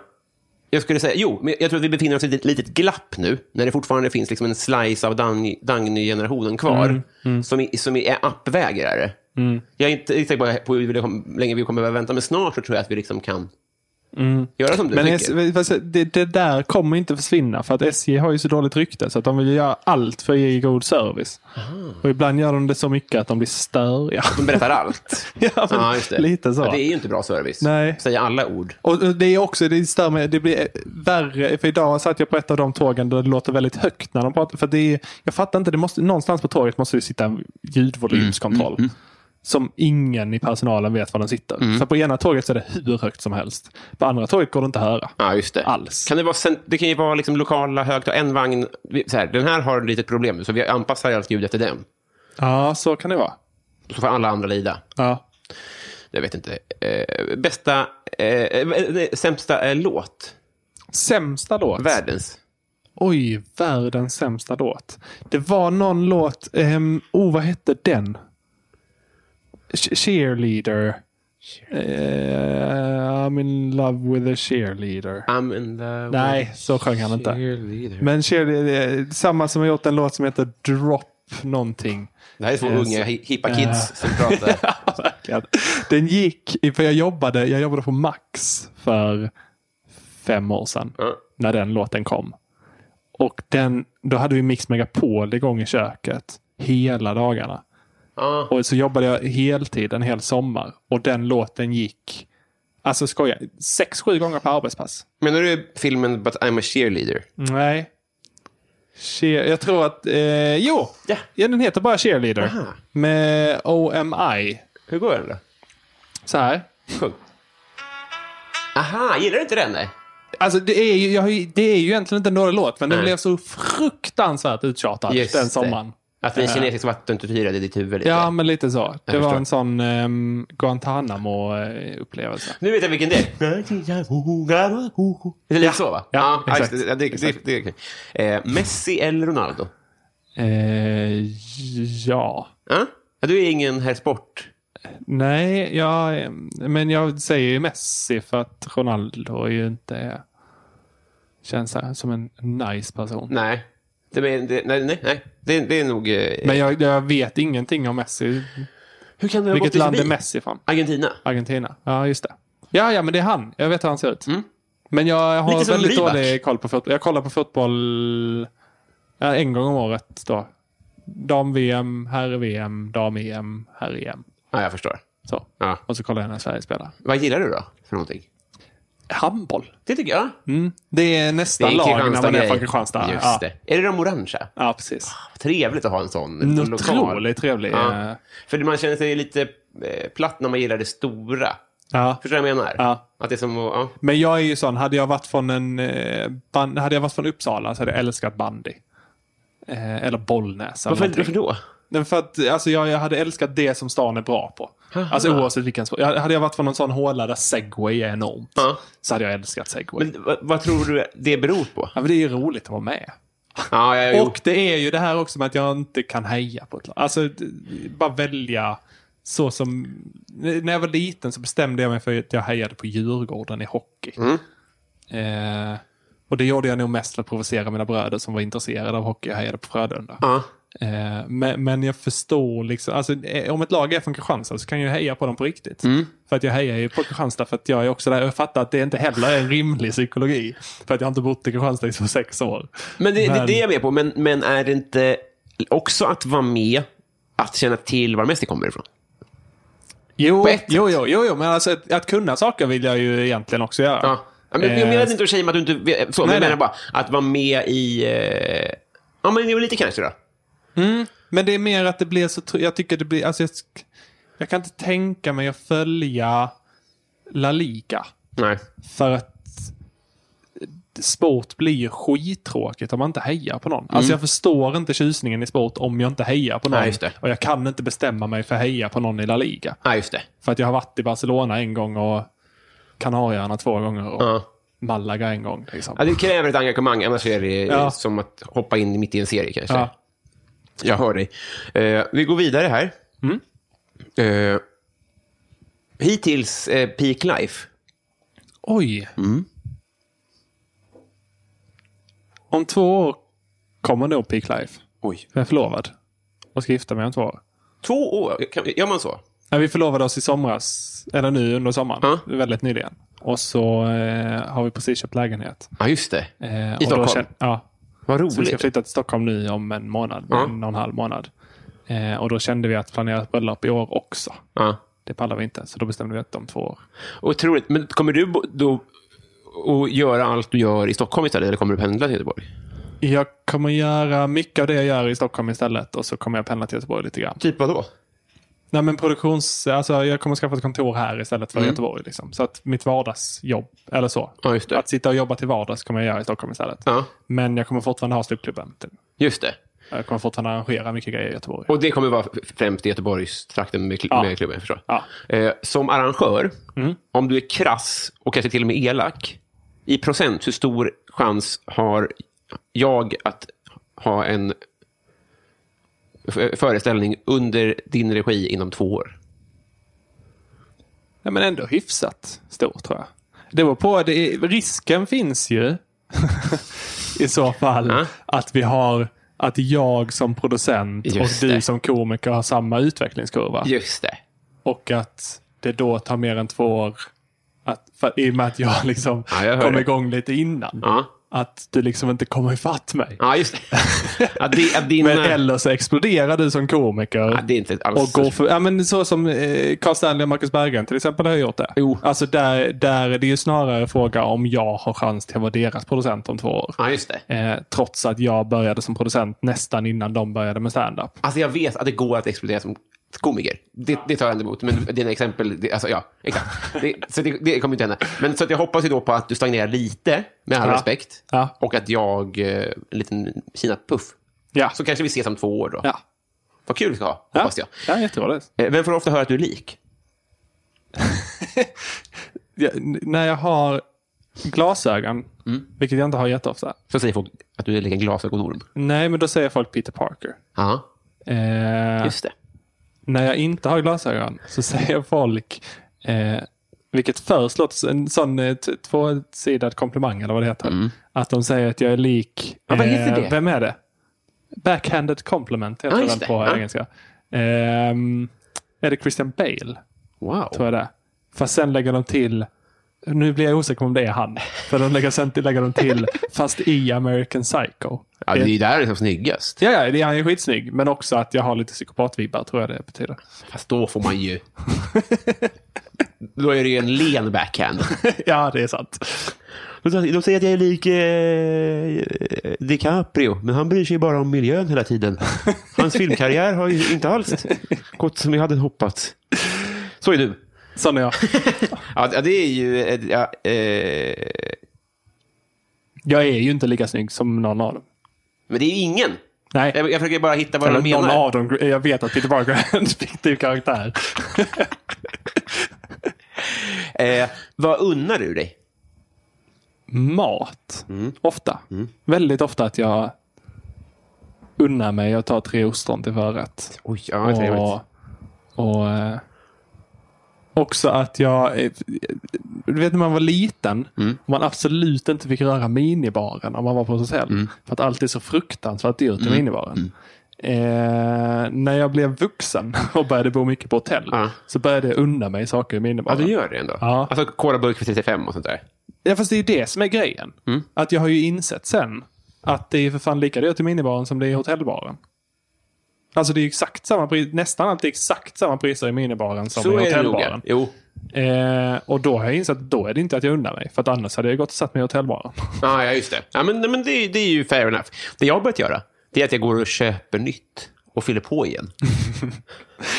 jag skulle säga, jo, men jag tror att vi befinner oss i ett litet glapp nu, när det fortfarande
Mm,
finns liksom en slice av Dagny- Dagny-generationen kvar, som, i, som i- är appvägrare. Jag är inte riktigt säker på- på hur länge vi kommer behöva vänta, men snart så tror jag att vi liksom kan göra som du
Mm. Men
tänker.
S- fast det, det där kommer inte försvinna för att SJ har ju så dåligt rykte så att de vill göra allt för att ge god service. Och ibland gör de det så mycket att de blir störiga.
De berättar allt.
Ja, men lite så.
Ja, det är ju inte bra service.
Nej.
Säga alla ord.
Och och det är också, det stör mig, det blir värre. För idag satt jag på ett av de tågen där det låter väldigt högt när de pratar. För det är, jag fattar inte, det måste, någonstans på tåget måste det sitta en ljudvolymskontroll. Som ingen i personalen vet var den sitter. För på ena tåget så är det hur högt som helst. På andra tåget går det inte att höra.
Ja, just det.
Alls.
Kan det, vara, cent- det kan ju vara liksom lokala högtalare. En vagn, vi- så här, den här har ett litet problem, så vi anpassar allt ljud efter den.
Ja, så kan det vara.
Så får alla andra lida.
Ja.
Jag vet inte. Eh, bästa, eh, eh, nej, sämsta eh, låt?
Sämsta låt.
Världens?
Oj, världens sämsta låt. Det var någon låt, ehm, oh vad hette den? Ch- cheerleader. Eh, I'm in love with a cheerleader.
I'm in the...
Nej, så sjöng han inte.
Cheerleader.
Men cheerleader, eh, samma som har gjort en låt som heter Drop någonting.
Det här är två
Yes.
unga hi- hippa kids som pratar.
Verkligen. Den gick, för jag jobbade, jag jobbade på Max för fem år sedan.
Ja.
När den låten kom. Och den, då hade vi Mix Megapol igång i köket. Hela dagarna.
Ja.
Och så jobbade jag heltid en hel sommar. Och den låten gick, alltså skoja, sex, sju gånger per arbetspass.
Menar du filmen But I'm a cheerleader?
Nej. Cheer, jag tror att, eh, jo!
Ja.
ja, den heter bara Cheerleader.
Aha.
Med OMI.
Hur går den då?
Så här.
Sjung. Aha, gillar du inte den? Nej.
Alltså det är ju, jag, har ju- det är ju egentligen inte en dålig låt, men den
Nej.
blev så fruktansvärt uttjatad
Just
den
det.
sommaren.
Att en kinesisk vattentortyrad i ditt huvud? lite.
Ja, men lite så. Det var
förstår.
en sån um, Guantanamo-upplevelse.
Nu vet jag vilken det är. Det är lite så, va?
Ja,
ja,
exakt.
det, det, det, det, det. Eh, Messi eller Ronaldo?
Eh, ja.
Ja? Ja, du är ingen herr sport.
Nej, jag, eh, men jag säger ju Messi för att Ronaldo är ju inte... Känns så här som en nice person.
Nej. Det, men, det, nej, nej, nej. Det, det är nog... Eh,
Men jag, jag vet ingenting om Messi.
hur kan du ha gått
Vilket
dig
land är
förbi?
Messi från?
Argentina.
Argentina. Ja, just det. Ja, ja, men det är han. Jag vet hur han ser ut. Men jag har
Mm. Lite som
väldigt
Rybak.
dålig koll på fotboll. Jag kollar på fotboll ja, en gång om året. då. Dam-VM, herr-VM, dam-EM, herr-EM.
Ja, jag förstår.
Så.
Ja.
Och så kollar jag när Sverige spelar.
Vad gillar du då? För någonting?
Handboll.
Det tycker jag.
Det är nästa lag när man är från Kristianstad.
Just
ja.
det. Är det de orangea?
ja, precis.
Trevligt att ha en sån.
En
lokal.
Otroligt trevlig. eh,
Ja.
Ja.
Eh, För man känner sig lite eh, platt när man gillar det stora.
Ja.
Förstår du vad jag menar?
Ja.
Att det är som att... Ja.
Men jag är ju sån, hade jag varit från, en, eh, ban- hade jag varit från Uppsala så hade jag älskat bandy. Eh, eller Bollnäs. eller
Varför,
någonting.
varför då?
Nej, för att alltså, jag, jag hade älskat det som stan är bra på. Alltså oavsett vilken sport. Jag, hade jag varit från någon sån håla där segway är enormt.
Ja.
Så hade jag älskat segway.
Men, vad, vad tror du det beror på?
ja, men det är ju roligt att vara med.
Ja, ja, jo.
Och det är ju det här också med att jag inte kan heja på ett lag. Alltså, d- bara välja så som... När jag var liten så bestämde jag mig för att jag hejade på Djurgården i hockey.
Mm.
Eh, och det gjorde jag nog mest för att provocera mina bröder som var intresserade av hockey. Jag hejade på Frölunda.
Ja.
Eh, men, men jag förstår liksom, alltså, eh, om ett lag är från Kristianstad så kan jag ju heja på dem på riktigt.
Mm.
För att jag hejar ju på Kristianstad för att jag är också där. Jag fattar att det inte heller är en rimlig psykologi. För att jag har inte bott i Kristianstad i så sex år.
Men det, det,
Men-
det är jag med på. Men, men är det inte också att vara med, att känna till var Messi kommer ifrån?
Jo,
På ett sätt.
jo, jo, jo, jo, men alltså, att, att kunna saker vill jag ju egentligen också göra.
Ja. Ja, men, jag
Eh,
menar inte att shama att du inte vet, så, men
Nej,
jag menar
nej.
bara att vara med i... Eh, ja, men jo, lite kanske då.
Men det är mer att det blir så... tr- Jag tycker det blir... Alltså, jag, sk- jag kan inte tänka mig att följa La Liga.
Nej.
För att sport blir ju skittråkigt om man inte hejar på någon. Alltså jag förstår inte tjusningen i sport om jag inte hejar på någon.
Mm. Nej, just det.
Och jag kan inte bestämma mig för att heja på någon i La Liga.
Ja, just det.
För att jag har varit i Barcelona en gång och Kanarieöarna två gånger och
Ja.
Malaga en gång. Liksom.
Ja, det kräver ett engagemang, annars är det eh,
Ja.
som att hoppa in mitt i en serie kanske.
Ja.
Jag hör dig. Eh, vi går vidare här. Eh, hittills eh, peak life.
Oj!
Mm.
Om två år kommer nog Peak Life.
Oj.
Jag är förlovad och ska gifta mig om två år.
Två år? Kan, gör man så?
Nej, vi förlovade oss i somras, eller nu under sommaren,
Ja.
väldigt nyligen. Och så eh, har vi precis köpt lägenhet.
Ja, just det.
Eh, och
Stockholm?
känner- ja.
Vad
Så vi ska
roligt.
flytta till Stockholm nu om en månad,
Ja.
en och en halv månad. Eh, och då kände vi att planera ett bröllop i år också.
Ja.
Det pallar vi inte, så då bestämde vi att om två år.
Otroligt. Men kommer du bo- då och göra allt du gör i Stockholm istället, eller kommer du pendla till Göteborg?
Jag kommer göra mycket av det jag gör i Stockholm istället och så kommer jag pendla till Göteborg lite grann.
Typ vad då?
Nej, men produktions, alltså, jag kommer skaffa ett kontor här istället
Mm.
för i Göteborg. Liksom. Så att mitt vardagsjobb, eller så.
Ja, just det.
Typ Att sitta och jobba till vardags kommer jag göra i Stockholm istället.
Ja,
Men jag kommer fortfarande ha ståuppklubben. Typ.
just det.
Jag kommer fortfarande arrangera mycket grejer i Göteborg.
Och det kommer vara f- främst i Göteborgstrakten med, kl-
Ja.
med klubben, jag förstår.
Ja. Mm.
Eh, som arrangör, om du är krass och kanske till och med elak, i procent, hur stor chans har jag att ha en f- föreställning under din regi inom två år?
Ja, men ändå hyfsat stor tror jag. Det var på, det är, risken finns ju i så fall
Ja.
att vi har att jag som producent
Just
och du
det.
som komiker har samma utvecklingskurva.
Just det.
Och att det då tar mer än två år. Att, för, I och med att jag liksom
Ja, jag hör
kom
det.
igång lite innan.
Ja,
Att du liksom inte kommer ifatt mig.
ja just det. Att di- att din,
Men eller så exploderar du som komiker.
ja, det är inte alls...
Och går för, ja, men så som eh, Carl Stanley och Marcus Berggren till exempel har gjort det.
Jo.
Alltså där, där är det ju snarare fråga om jag har chans till att vara deras producent om två år.
Ja, just det.
Eh, trots att jag började som producent nästan innan de började med stand-up.
Alltså jag vet att det går att explodera som komiker. Det, det tar jag ändå emot. Men dina exempel, det, alltså ja, exakt. Det, så det, det kommer inte hända. Men så att jag hoppas ju då på att du stagnerar lite, med all
Ja.
respekt.
Ja.
Och att jag, eh, en liten Kina-puff.
Ja.
Så kanske vi ses om två år då.
Ja.
Vad kul vi ska ha,
Ja.
hoppas jag.
ja, jätteroligt.
Eh, Vem får ofta höra att du är lik?
Ja, n- när jag har glasögon,
Mm.
vilket jag inte har jätteofta.
Så säger folk att du är lik en glasögonorm.
Nej, men då säger folk Peter Parker.
Ja,
Eh,
just det.
när jag inte har glasögon så säger folk, eh, vilket först låter som en sån eh, t- tvåsidad komplimang eller vad det heter. Att de säger att jag är lik... eh,
Ja, vad heter det?
Vem är det? Backhanded compliment heter
Ja, just
den
det.
på
Ja.
engelska. Ehm, är det Christian Bale?
Wow.
tror jag det är. Fast sen lägger de till, nu blir jag osäker om det är han, för de lägger, sen lägger de till, fast i American Psycho.
Ja, det är ju där den är som snyggast.
Ja, ja, det är han ju skitsnygg, men också att jag har lite psykopatvibbar tror jag det betyder.
Fast då får man ju... då är det ju en len backhand.
ja, det är sant.
De de säger att jag är lik eh, DiCaprio, men han bryr sig ju bara om miljön hela tiden. Hans filmkarriär har ju inte alls gått som jag hade hoppats. Så är du.
Sån är jag.
Ja, ja, det är ju... eh, Ja, eh,
Jag är ju inte lika snygg som någon av dem.
men det är ju ingen.
Nej,
Jag, jag försöker bara hitta vad
eller
de
någon
menar.
av dem. Jag vet att Peter Parker är en fiktiv karaktär.
Eh, vad unnar du dig?
Mat.
Mm.
Ofta. Väldigt ofta att jag unnar mig att ta tre ostron till förrätt.
Oj, ja, vad trevligt.
Och, och eh, också att jag... eh, Du vet när man var liten
Mm.
och man absolut inte fick röra minibaren om man var på hotell.
Mm.
För att allt är så fruktansvärt dyrt i minibaren. Eh, när jag blev vuxen och började bo mycket på hotell
Ja.
så började jag unna mig saker i
Ja,
minibaren.
du gör det ändå.
Ja.
Alltså, Cola-burk för 35 och sånt där.
Ja, fast det är ju det som är grejen.
Mm.
Att jag har ju insett sen att det är för fan lika dyrt i minibaren som det är i hotellbaren. Alltså det är ju exakt samma pris, nästan alltid exakt samma priser i minibaren som i
Så är det nog.
hotellbaren.
Jo.
Eh, och då har jag insett att då är det inte att jag undrar mig. För att annars hade jag gått och satt mig i hotellbaren.
Ja, ja, just det. Ja, men, nej, men det, det är ju fair enough. Det jag har börjat göra, det är att jag går och köper nytt och fyller på igen.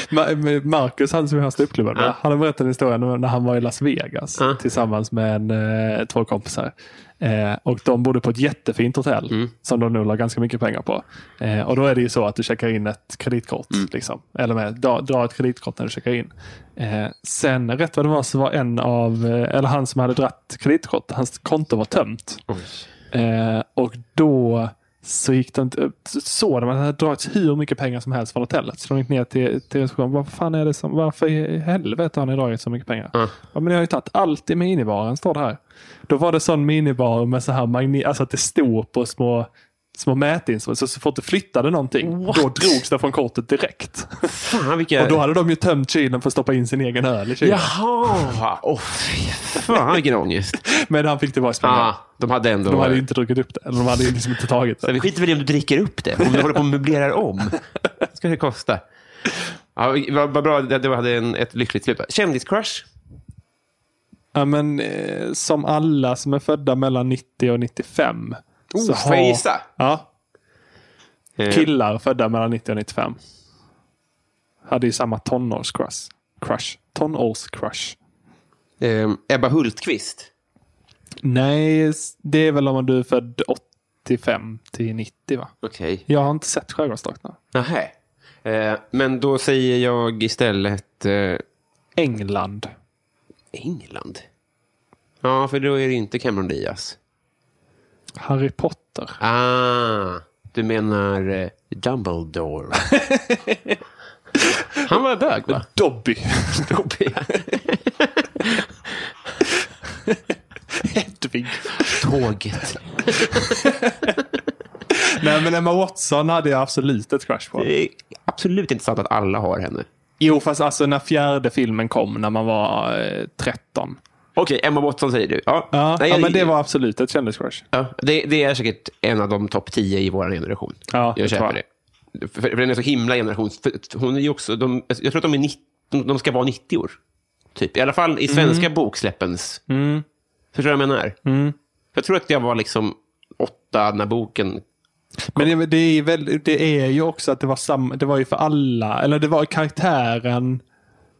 Ma- med Marcus, han som jag har ståuppklubben med, han har berättat en historia när när han var i Las Vegas tillsammans med en, eh, två kompisar. Eh, och de bodde på ett jättefint hotell som de nu la ganska mycket pengar på. Eh, och då är det ju så att du checkar in ett kreditkort. Liksom. Eller med, dra, dra ett kreditkort när du checkar in. Eh, sen rätt vad det var så var en av, eh, eller han som hade dratt kreditkort, hans konto var tömt. Eh, och då så gick de, så såg de att det hade dragits hur mycket pengar som helst från hotellet. Så de gick ner till, till receptionen. Vad fan är det som, varför i helvete har ni dragit så mycket pengar? Ja, men jag har ju tagit allt i minibaren, står det här. Då var det sån minibar med så här magnet, alltså att det stod på små små mätinstrument. Så, så fort det flyttade någonting, då drogs det från kortet direkt.
Fan vilka...
Och då hade de ju tömt kylen för att stoppa in sin egen öl i kylen.
Jaha! Åh, fy fan vilken ångest.
Men han fick tillbaka pengarna.
Ah, de hade ändå...
De hade ju inte druckit upp det. Eller de hade ju liksom inte tagit
Så
det.
vi skiter väl i om du dricker upp det, om du håller på och möblerar om. Vad ska det kosta? Ja, vad, vad bra att du hade en, ett lyckligt slut. Kändiscrush?
Ja, men, eh, som alla som är födda mellan 90 och 95.
Oh, får jag gissa?
Ja,
Eh,
killar födda mellan 90 och 95. Hade ju samma tonårscrush. Crush. Tonårscrush.
eh, Ebba Hultqvist?
Nej, s- det är väl om du är född 85 till 90 va?
Okej.
Jag har inte sett Skärgårdsdrakterna.
Nähä. Eh, men då säger jag istället eh,
England.
England. Ja, för då är det inte Cameron Diaz.
Harry Potter.
Ah, du menar eh, Dumbledore. Han var bög, va?
Dobby.
Dobby.
Hedvig.
Tåget.
Nej, men Emma Watson hade jag absolut ett crush på.
Det är absolut inte sant att alla har henne.
Jo, fast alltså när fjärde filmen kom när man var eh, 13.
Okej, Emma Watson säger du. Ja,
Ja,
Nej,
ja
jag-
men det var absolut ett kändiscrush.
Ja, det, det är säkert en av de topp 10 i vår generation.
Ja,
jag
det
köper
tror
det.
jag.
För, för den är så himla generations... för- Hon är ju också, de, jag tror att de, är 90, de, de ska vara 90 år. Typ. I alla fall i svenska
Mm.
boksläppens... Förstår du vad jag menar? Jag tror att jag var liksom åtta när boken...
Men det, det, är väl, det är ju också att det var samma, det var ju för alla, eller det var karaktären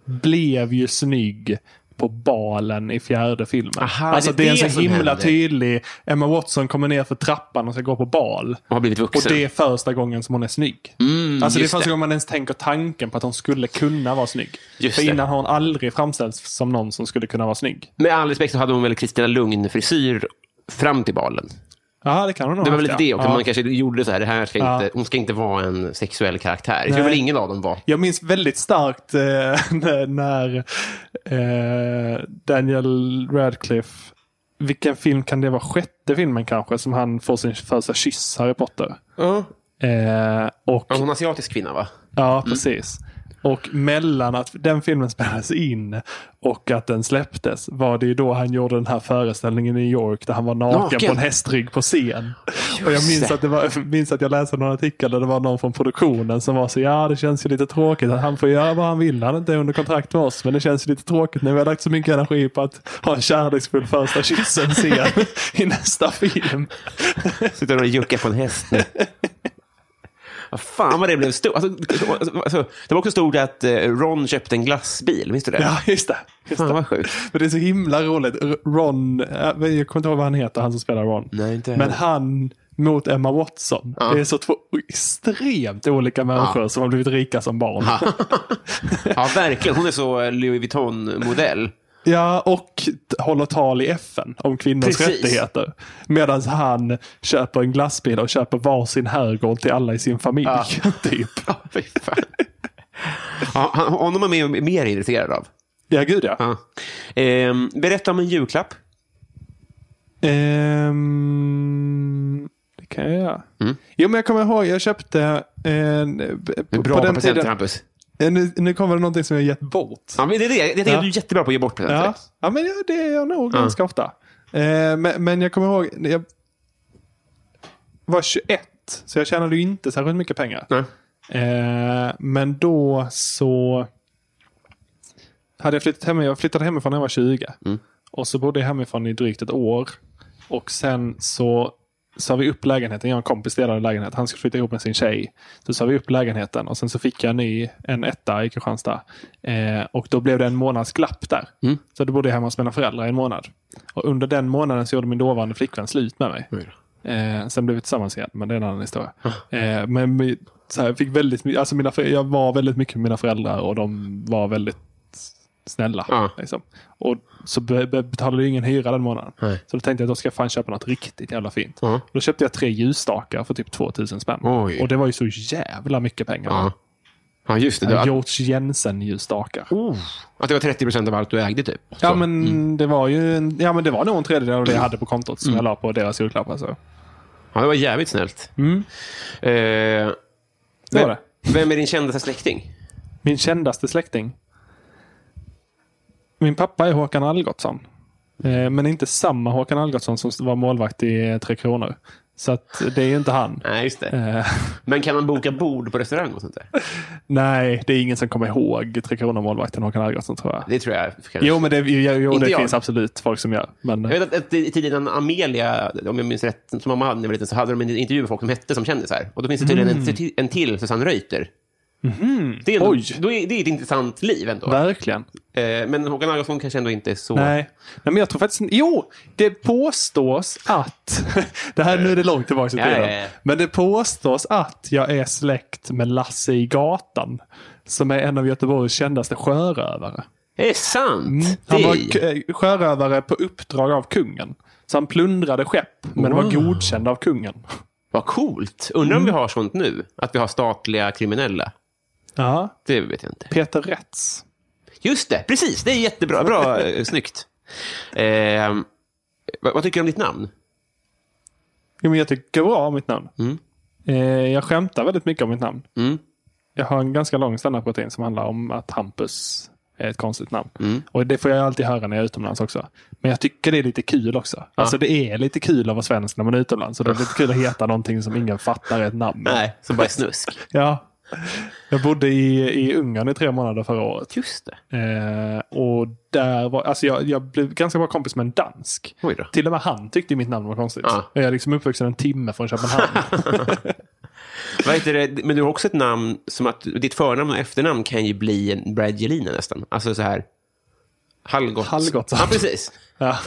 blev ju snygg på balen i fjärde filmen.
Aha,
alltså
det
det
är
är,
det
en så
som
himla
händer.
tydlig, Emma Watson kommer ner för trappan och ska gå på bal.
Och har blivit vuxen.
Och det är första gången som hon är snygg. alltså det är
Mm, just
första
det.
gången man ens tänker tanken på att hon skulle kunna vara snygg.
Just
för
det.
innan har hon aldrig framställts som någon som skulle kunna vara snygg.
Med all respekt så hade hon väl Kristina Lugn-frisyr fram till balen.
Ja, det kan hon nog
Det var
ha
väl lite
haft,
det
ja.
också.
Ja.
Man kanske gjorde så här, det här ska
Ja.
inte, hon ska inte vara en sexuell karaktär. Det tror
Nej.
väl ingen av dem var.
Jag minns väldigt starkt eh, när, när eh, Daniel Radcliffe, vilken film kan det vara? Sjätte filmen kanske, som han får sin första kyss, Harry Potter.
Ja.
Eh, och,
Hon är en asiatisk kvinna, va?
ja,
Mm.
precis. Och mellan att den filmen spelades in och att den släpptes var det ju då han gjorde den här föreställningen i New York där han var naken,
Naken.
på en hästrygg på scen. Och jag minns
det.
att, det var, minns att jag läste någon artikel där det var någon från produktionen som var så ja det känns ju lite tråkigt att han får göra vad han vill. Han är inte under kontrakt med oss men det känns ju lite tråkigt när vi har lagt så mycket energi på att ha en kärleksfull första kyssen scen i nästa film.
Sitter och juckar på en häst. Vad fan vad det blev stort. Alltså, alltså, det var också stort att eh, Ron köpte en glassbil, minns du det?
Ja just det. Just
Fan
det.
vad sjukt.
Men det är så himla roligt. R- Ron, eh, jag kommer inte ihåg vad han heter, han som spelar Ron.
Nej, inte jag
Men
heller.
han mot Emma Watson.
Ja.
Det är så två extremt olika människor som har blivit rika som barn. Ja,
Ja, verkligen. Hon är så eh, Louis Vuitton-modell.
och t- håller tal i FN om kvinnors
Precis.
rättigheter. Medan han köper en glassbil och köper varsin herrgård till alla i sin familj. typ.
Ja, fy fan. Ja, han- honom är man mer- mer intresserad av.
Ja, gud ja.
Ja. Ehm, berätta om en julklapp.
Ehm, det kan jag göra. Jo, men jag kommer ihåg, jag köpte en...
Du Mm. är bra på presenter, Hampus.
Eh, Nu, nu kommer det någonting som jag gett bort.
Ja, men det är det. Jag tycker
Ja.
att du är jättebra på att ge bort presenter.
Ja, ja men det- det är jag nog ganska ofta. Eh, men, men jag kommer ihåg, jag var 21, så jag tjänade ju inte särskilt mycket pengar.
Nej.
Eh, men då så hade jag flyttat hem, jag flyttade hemifrån när jag var 20. Och så bodde jag hemifrån i drygt ett år. Och sen så sa vi upp lägenheten. Jag och en kompis delade lägenhet. Han skulle flytta ihop med sin tjej. Så sa vi upp lägenheten och sen så fick jag en ny, en etta i Kristianstad. Eh, och då blev det en månads glapp där. Så då bodde jag hemma hos mina föräldrar i en månad. Och under den månaden så gjorde min dåvarande flickvän slut med mig. Eh, sen blev vi tillsammans igen, men det är en annan historia. Eh, men vi- så här, jag, fick väldigt, my- alltså mina, föräldrar- jag var väldigt mycket med mina föräldrar och de var väldigt snälla.
Ja.
Liksom. Och så be- be- betalade jag ingen hyra den månaden.
Nej.
Så då tänkte jag att då ska jag fan köpa något riktigt jävla fint.
Ja.
Då köpte jag tre ljusstakar för typ 2000 spänn.
Oj.
Och det var ju så jävla mycket pengar.
Ja. Ja, just det. Du,
Ja,
att,
George Jensen-ljusstakar.
att det var 30 procent av allt du ägde, typ.
Ja men, alltså. det var ju en, ja men det var nog en tredjedel av det jag hade på kontot som jag la på deras julklappar. Så.
Ja, det var jävligt snällt. Eh,
Det
vem,
var det.
vem är din kändaste släkting?
Min kändaste släkting. Min pappa är Håkan Algotsson. Eh, Men inte samma Håkan Algotsson som var målvakt i eh, Tre Kronor. Så att det är ju inte han.
Nej, just det.
Eh,
Men kan man boka bord på restaurang och sånt där?
Nej, det är ingen som kommer ihåg Tre Kronor-målvakten Håkan Algotsson tror jag.
Det tror jag. kanske.
Jo, men det, jo, jo,
Inte
det
jag.
finns absolut folk som gör. Men,
Jag vet att, att i tiden Amelia, om jag minns rätt, som mamma hade när jag var liten, så hade de en intervju med folk som hette som kändisar. Och då finns det tydligen en, en till Susanne Reuter. Det, är ändå,
Mm. Mhm. Oj.
då är, det är ett intressant liv ändå.
verkligen.
Eh, men Håkan Algotsson kanske ändå inte är så...
Nej. Nej, men jag tror faktiskt Jo, det påstås att... det här nu är det långt tillbaka i
Ja, ja,
tiden.
ja.
Men det påstås att jag är släkt med Lasse i gatan. Som är en av Göteborgs kändaste sjörövare.
Det är sant!
Mm. Han
Det är-
var k- eh, sjörövare på uppdrag av kungen. Så han plundrade skepp, men var godkänd av kungen.
Vad coolt! Undrar om vi
Mm.
har sånt nu? Att vi har statliga kriminella?
Ja,
Det vet jag inte.
Peter Rätts.
Just det! Precis! Det är jättebra. Bra, eh, snyggt. Eh, vad, vad tycker du om ditt namn?
Jo, men jag tycker bra om mitt namn. Eh, jag skämtar väldigt mycket om mitt namn.
Mm.
Jag har en ganska lång standup-rutin som handlar om att Hampus är ett konstigt namn.
Mm.
Och Det får jag alltid höra när jag är utomlands också. Men jag tycker det är lite kul också. Alltså Det är lite kul att vara svensk när man är utomlands. Så det är lite kul att heta någonting som ingen fattar är ett namn.
Nej, som bara är snusk.
Ja. Jag bodde i, i Ungern i tre månader förra året.
Just det.
Eh, och där var, alltså jag, jag blev ganska bra kompis med en dansk.
Oj då.
Till och med han tyckte mitt namn var konstigt.
Ja.
Jag är liksom uppvuxen en timme från Köpenhamn.
Vad heter det? Men du har också ett namn som att ditt förnamn och efternamn kan ju bli en Bradgelina nästan. Alltså så här. Hallgott.
Hallgottsson.
Ja, precis.
ja.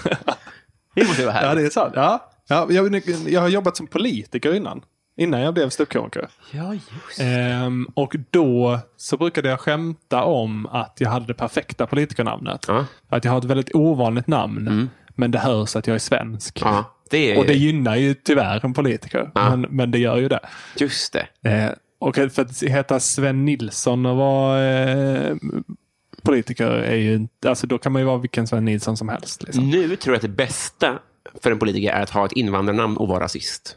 Det måste ju vara
ja,
här.
det är sant. Ja. Ja, jag, jag har jobbat som politiker innan. Innan jag blev ståuppkomiker.
Ja, just
Ehm, och då så brukade jag skämta om att jag hade det perfekta politikernamnet.
Ja. Mm.
Att jag har ett väldigt ovanligt namn. Men det hörs att jag är svensk.
Ja, det är
Och det gynnar ju tyvärr en politiker. Men, men det gör ju det.
just det.
Eh, och för att heta Sven Nilsson och vara eh, politiker är ju inte... Alltså då kan man ju vara vilken Sven Nilsson som helst. Liksom.
Nu tror jag att det bästa för en politiker är att ha ett invandrarnamn och vara rasist.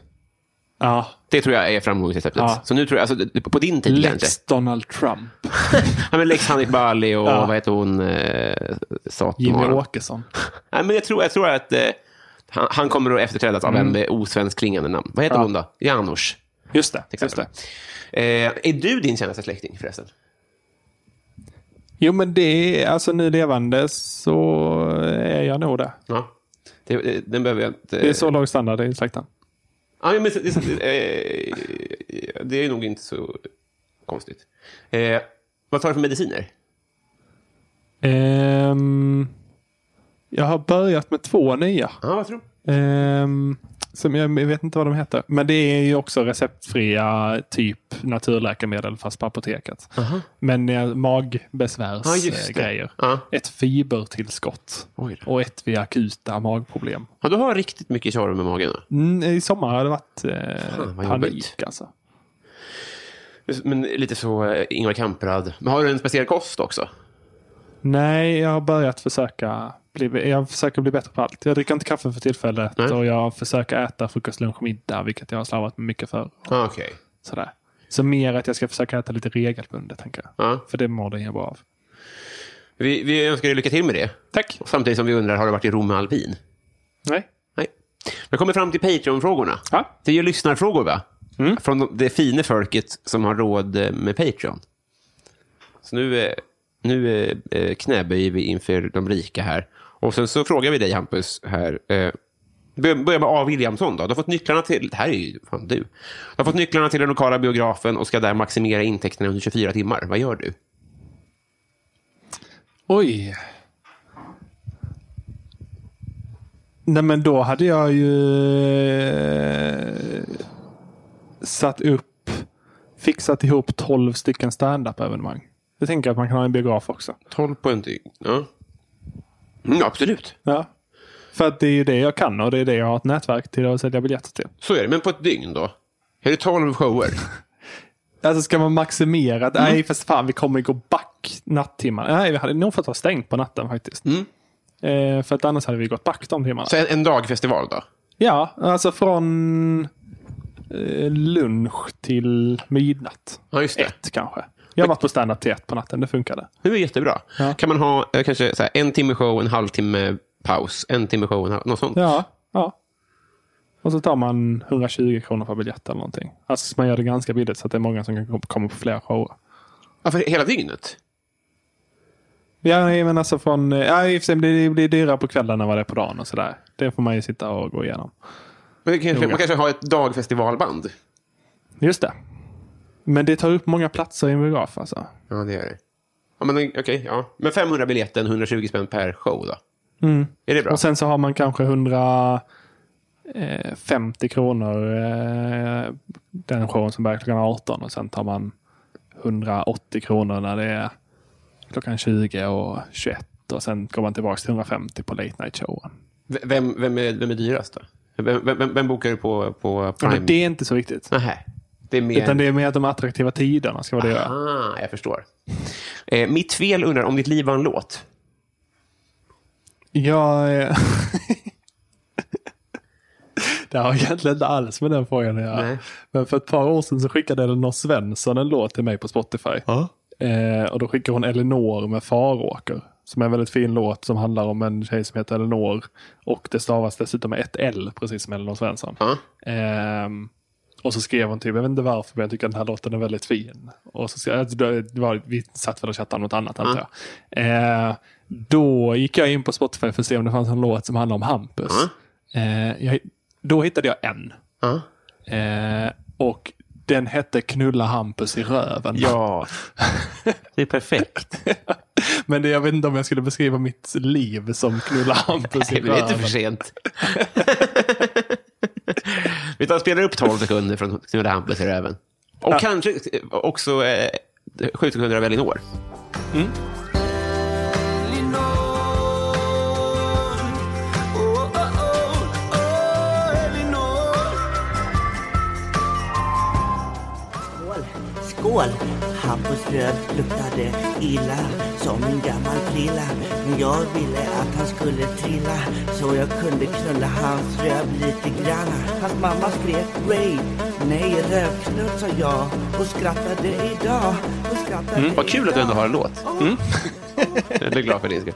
Ja,
Det tror jag är framgångsreceptet.
Ja.
Så nu tror jag, alltså, det- på din tid kanske.
Lex Donald Trump.
Ja, men Lex Hanif Bali och
Ja.
vad heter hon? Eh,
Jimmy
Satomaru.
Åkesson.
Nej, men jag tror, jag tror att eh, han, han kommer att efterträdas av en med osvensk klingande namn. Vad heter hon då? Janusz.
Just det.
till
Just
exempel.
det.
Eh, är du din kändaste släkting förresten?
Jo, men det är alltså nu levande så är jag nog det.
Ja. Det, det, den behöver jag inte...
Det är så låg standard i släkten.
Ja, men, det, det, eh, det är nog inte så konstigt. Eh, vad tar du för mediciner?
Ehm, jag har börjat med två nya.
Ja, vad tror du?
Ehm, som jag jag vet inte vad de heter. Men det är ju också receptfria typ naturläkemedel fast på apoteket. Men eh,
Ja, just det.
magbesvärsgrejer.
Ja.
Ett fibertillskott.
Oj då.
Och ett vid akuta magproblem.
Ja, du har riktigt mycket tjorv med magen. då.
Mm, I sommar har det varit eh,
Fan, vad jobbigt.
panik. Alltså.
Men lite så eh, Ingvar Kamprad. Men har du en speciell kost också?
Nej, jag har börjat försöka bli, jag försöker bli bättre på allt. Jag dricker inte kaffe för tillfället
Nej.
och jag försöker äta frukost, lunch och middag, vilket jag har slavat med mycket för.
Ah, Okej.
Sådär. Så mer att jag ska försöka äta lite regelbundet, tänker jag.
Ja.
För det mår den bra av.
Vi, vi önskar dig lycka till med det.
Tack!
Och Samtidigt som vi undrar, har du varit i Rom med alpin?
Nej.
Nej. Vi kommer fram till Patreon-frågorna.
Ja.
Det är ju lyssnarfrågor, va? Från de- det fine folket som har råd eh, med Patreon. Så nu, eh, nu eh, eh, knäböjer vi inför de rika här. Och sen så frågar vi dig, Hampus, här. eh, bör- Börja med A. Williamson. Då. Du har fått nycklarna till... Det här är ju fan du. Du har fått nycklarna till den lokala biografen och ska där maximera intäkterna under 24 timmar. Vad gör du?
Oj. Nej, men då hade jag ju eh, satt upp, fixat ihop 12 stycken standup-evenemang. Jag tänker att man kan ha en biograf också.
12 på en dygn. Ja. Mm, absolut.
Ja. För att det är ju det jag kan och det är det jag har ett nätverk till att sälja biljetter till.
Så är det. Men på ett dygn då? Är det 12 shower?
Alltså ska man maximera? Nej, fast fan vi kommer gå back nattimmar. Mm. Nej, vi hade nog fått ha stängt på natten faktiskt. Eh, för att annars hade vi gått back de timmarna.
Så en, en dagfestival då?
Ja, alltså från eh, lunch till midnatt.
Ja, just det.
Ett kanske. Jag har varit på standup till ett på natten. Det funkade.
Det är jättebra.
Ja.
Kan man ha eh, kanske så här, en timme show, en halvtimme paus, en timme show, en halv, något sånt?
Ja, ja. Och så tar man 120 kronor för biljett eller någonting. Alltså så man gör det ganska billigt så att det är många som kan kom- komma på fler shower.
Ja, för hela dygnet?
Ja, nej, men alltså från... eh, Ja, i och för sig, det blir dyrare på kvällen än vad det är på dagen och sådär. Det får man ju sitta och gå igenom.
Men det kanske,
Jo, ja.
man kanske har ett dagfestivalband?
Just det. Men det tar upp många platser i en biograf alltså.
Ja, det gör det. Ja, men eh, okej. ja. Men 500 biljetten, 120 spänn per show då? Är det bra?
Mm. Och sen så har man kanske 150 kronor eh, den showen som börjar klockan 18 och sen tar man 180 kronor när det är klockan 20 och 21 och sen går man tillbaka till 150 på late night showen.
V- Vem, vem, är, vem är dyrast då? Vem, vem, vem bokar du på, på
Ja,
Prime?
men det är inte så viktigt.
Nähä. Det är mer...
Utan det är mer att de attraktiva tiderna ska vara det jag gör.
Ah, jag förstår. Eh, mitt fel undrar om ditt liv var en låt.
Jag... eh, Det har egentligen inte alls med den frågan att göra.
Nej.
Men för ett par år sedan så skickade Elinor Svensson en låt till mig på Spotify. Eh, och då skickar hon Elinor med Faråker. Som är en väldigt fin låt som handlar om en tjej som heter Elinor. Och det stavas dessutom med ett L, precis som Elinor Svensson.
Ja.
Ehm, och så skrev hon typ, jag vet inte varför, men jag tycker den här låten är väldigt fin. Och så skrev, alltså, det var, vi satt väl och chattade om något annat, antar jag. Eh, då gick jag in på Spotify för att se om det fanns en låt som handlade om Hampus. Eh, jag, då hittade jag en.
Ja.
Eh, och den hette Knulla Hampus i röven.
Ja. Det är perfekt.
Men det, jag vet inte om jag skulle beskriva mitt liv som knulla Hampus i
Det är inte
röven.
för sent. Vi tar och spelar upp 12 sekunder från Knulla Hampus i röven. Och kanske också eh, 7 sekunder av Elinor.
Skål! Skål! Hampus röv luktade illa som en gammal prilla. Men jag ville att han skulle trilla så jag kunde knulla hans röv lite grann. Hans mamma skrek rape. Nej, rövknull sa jag och skrattade idag. Och skrattade
Mm,
Mm.
Vad kul att du ändå har en låt. Mm. Jag blir glad för din skull.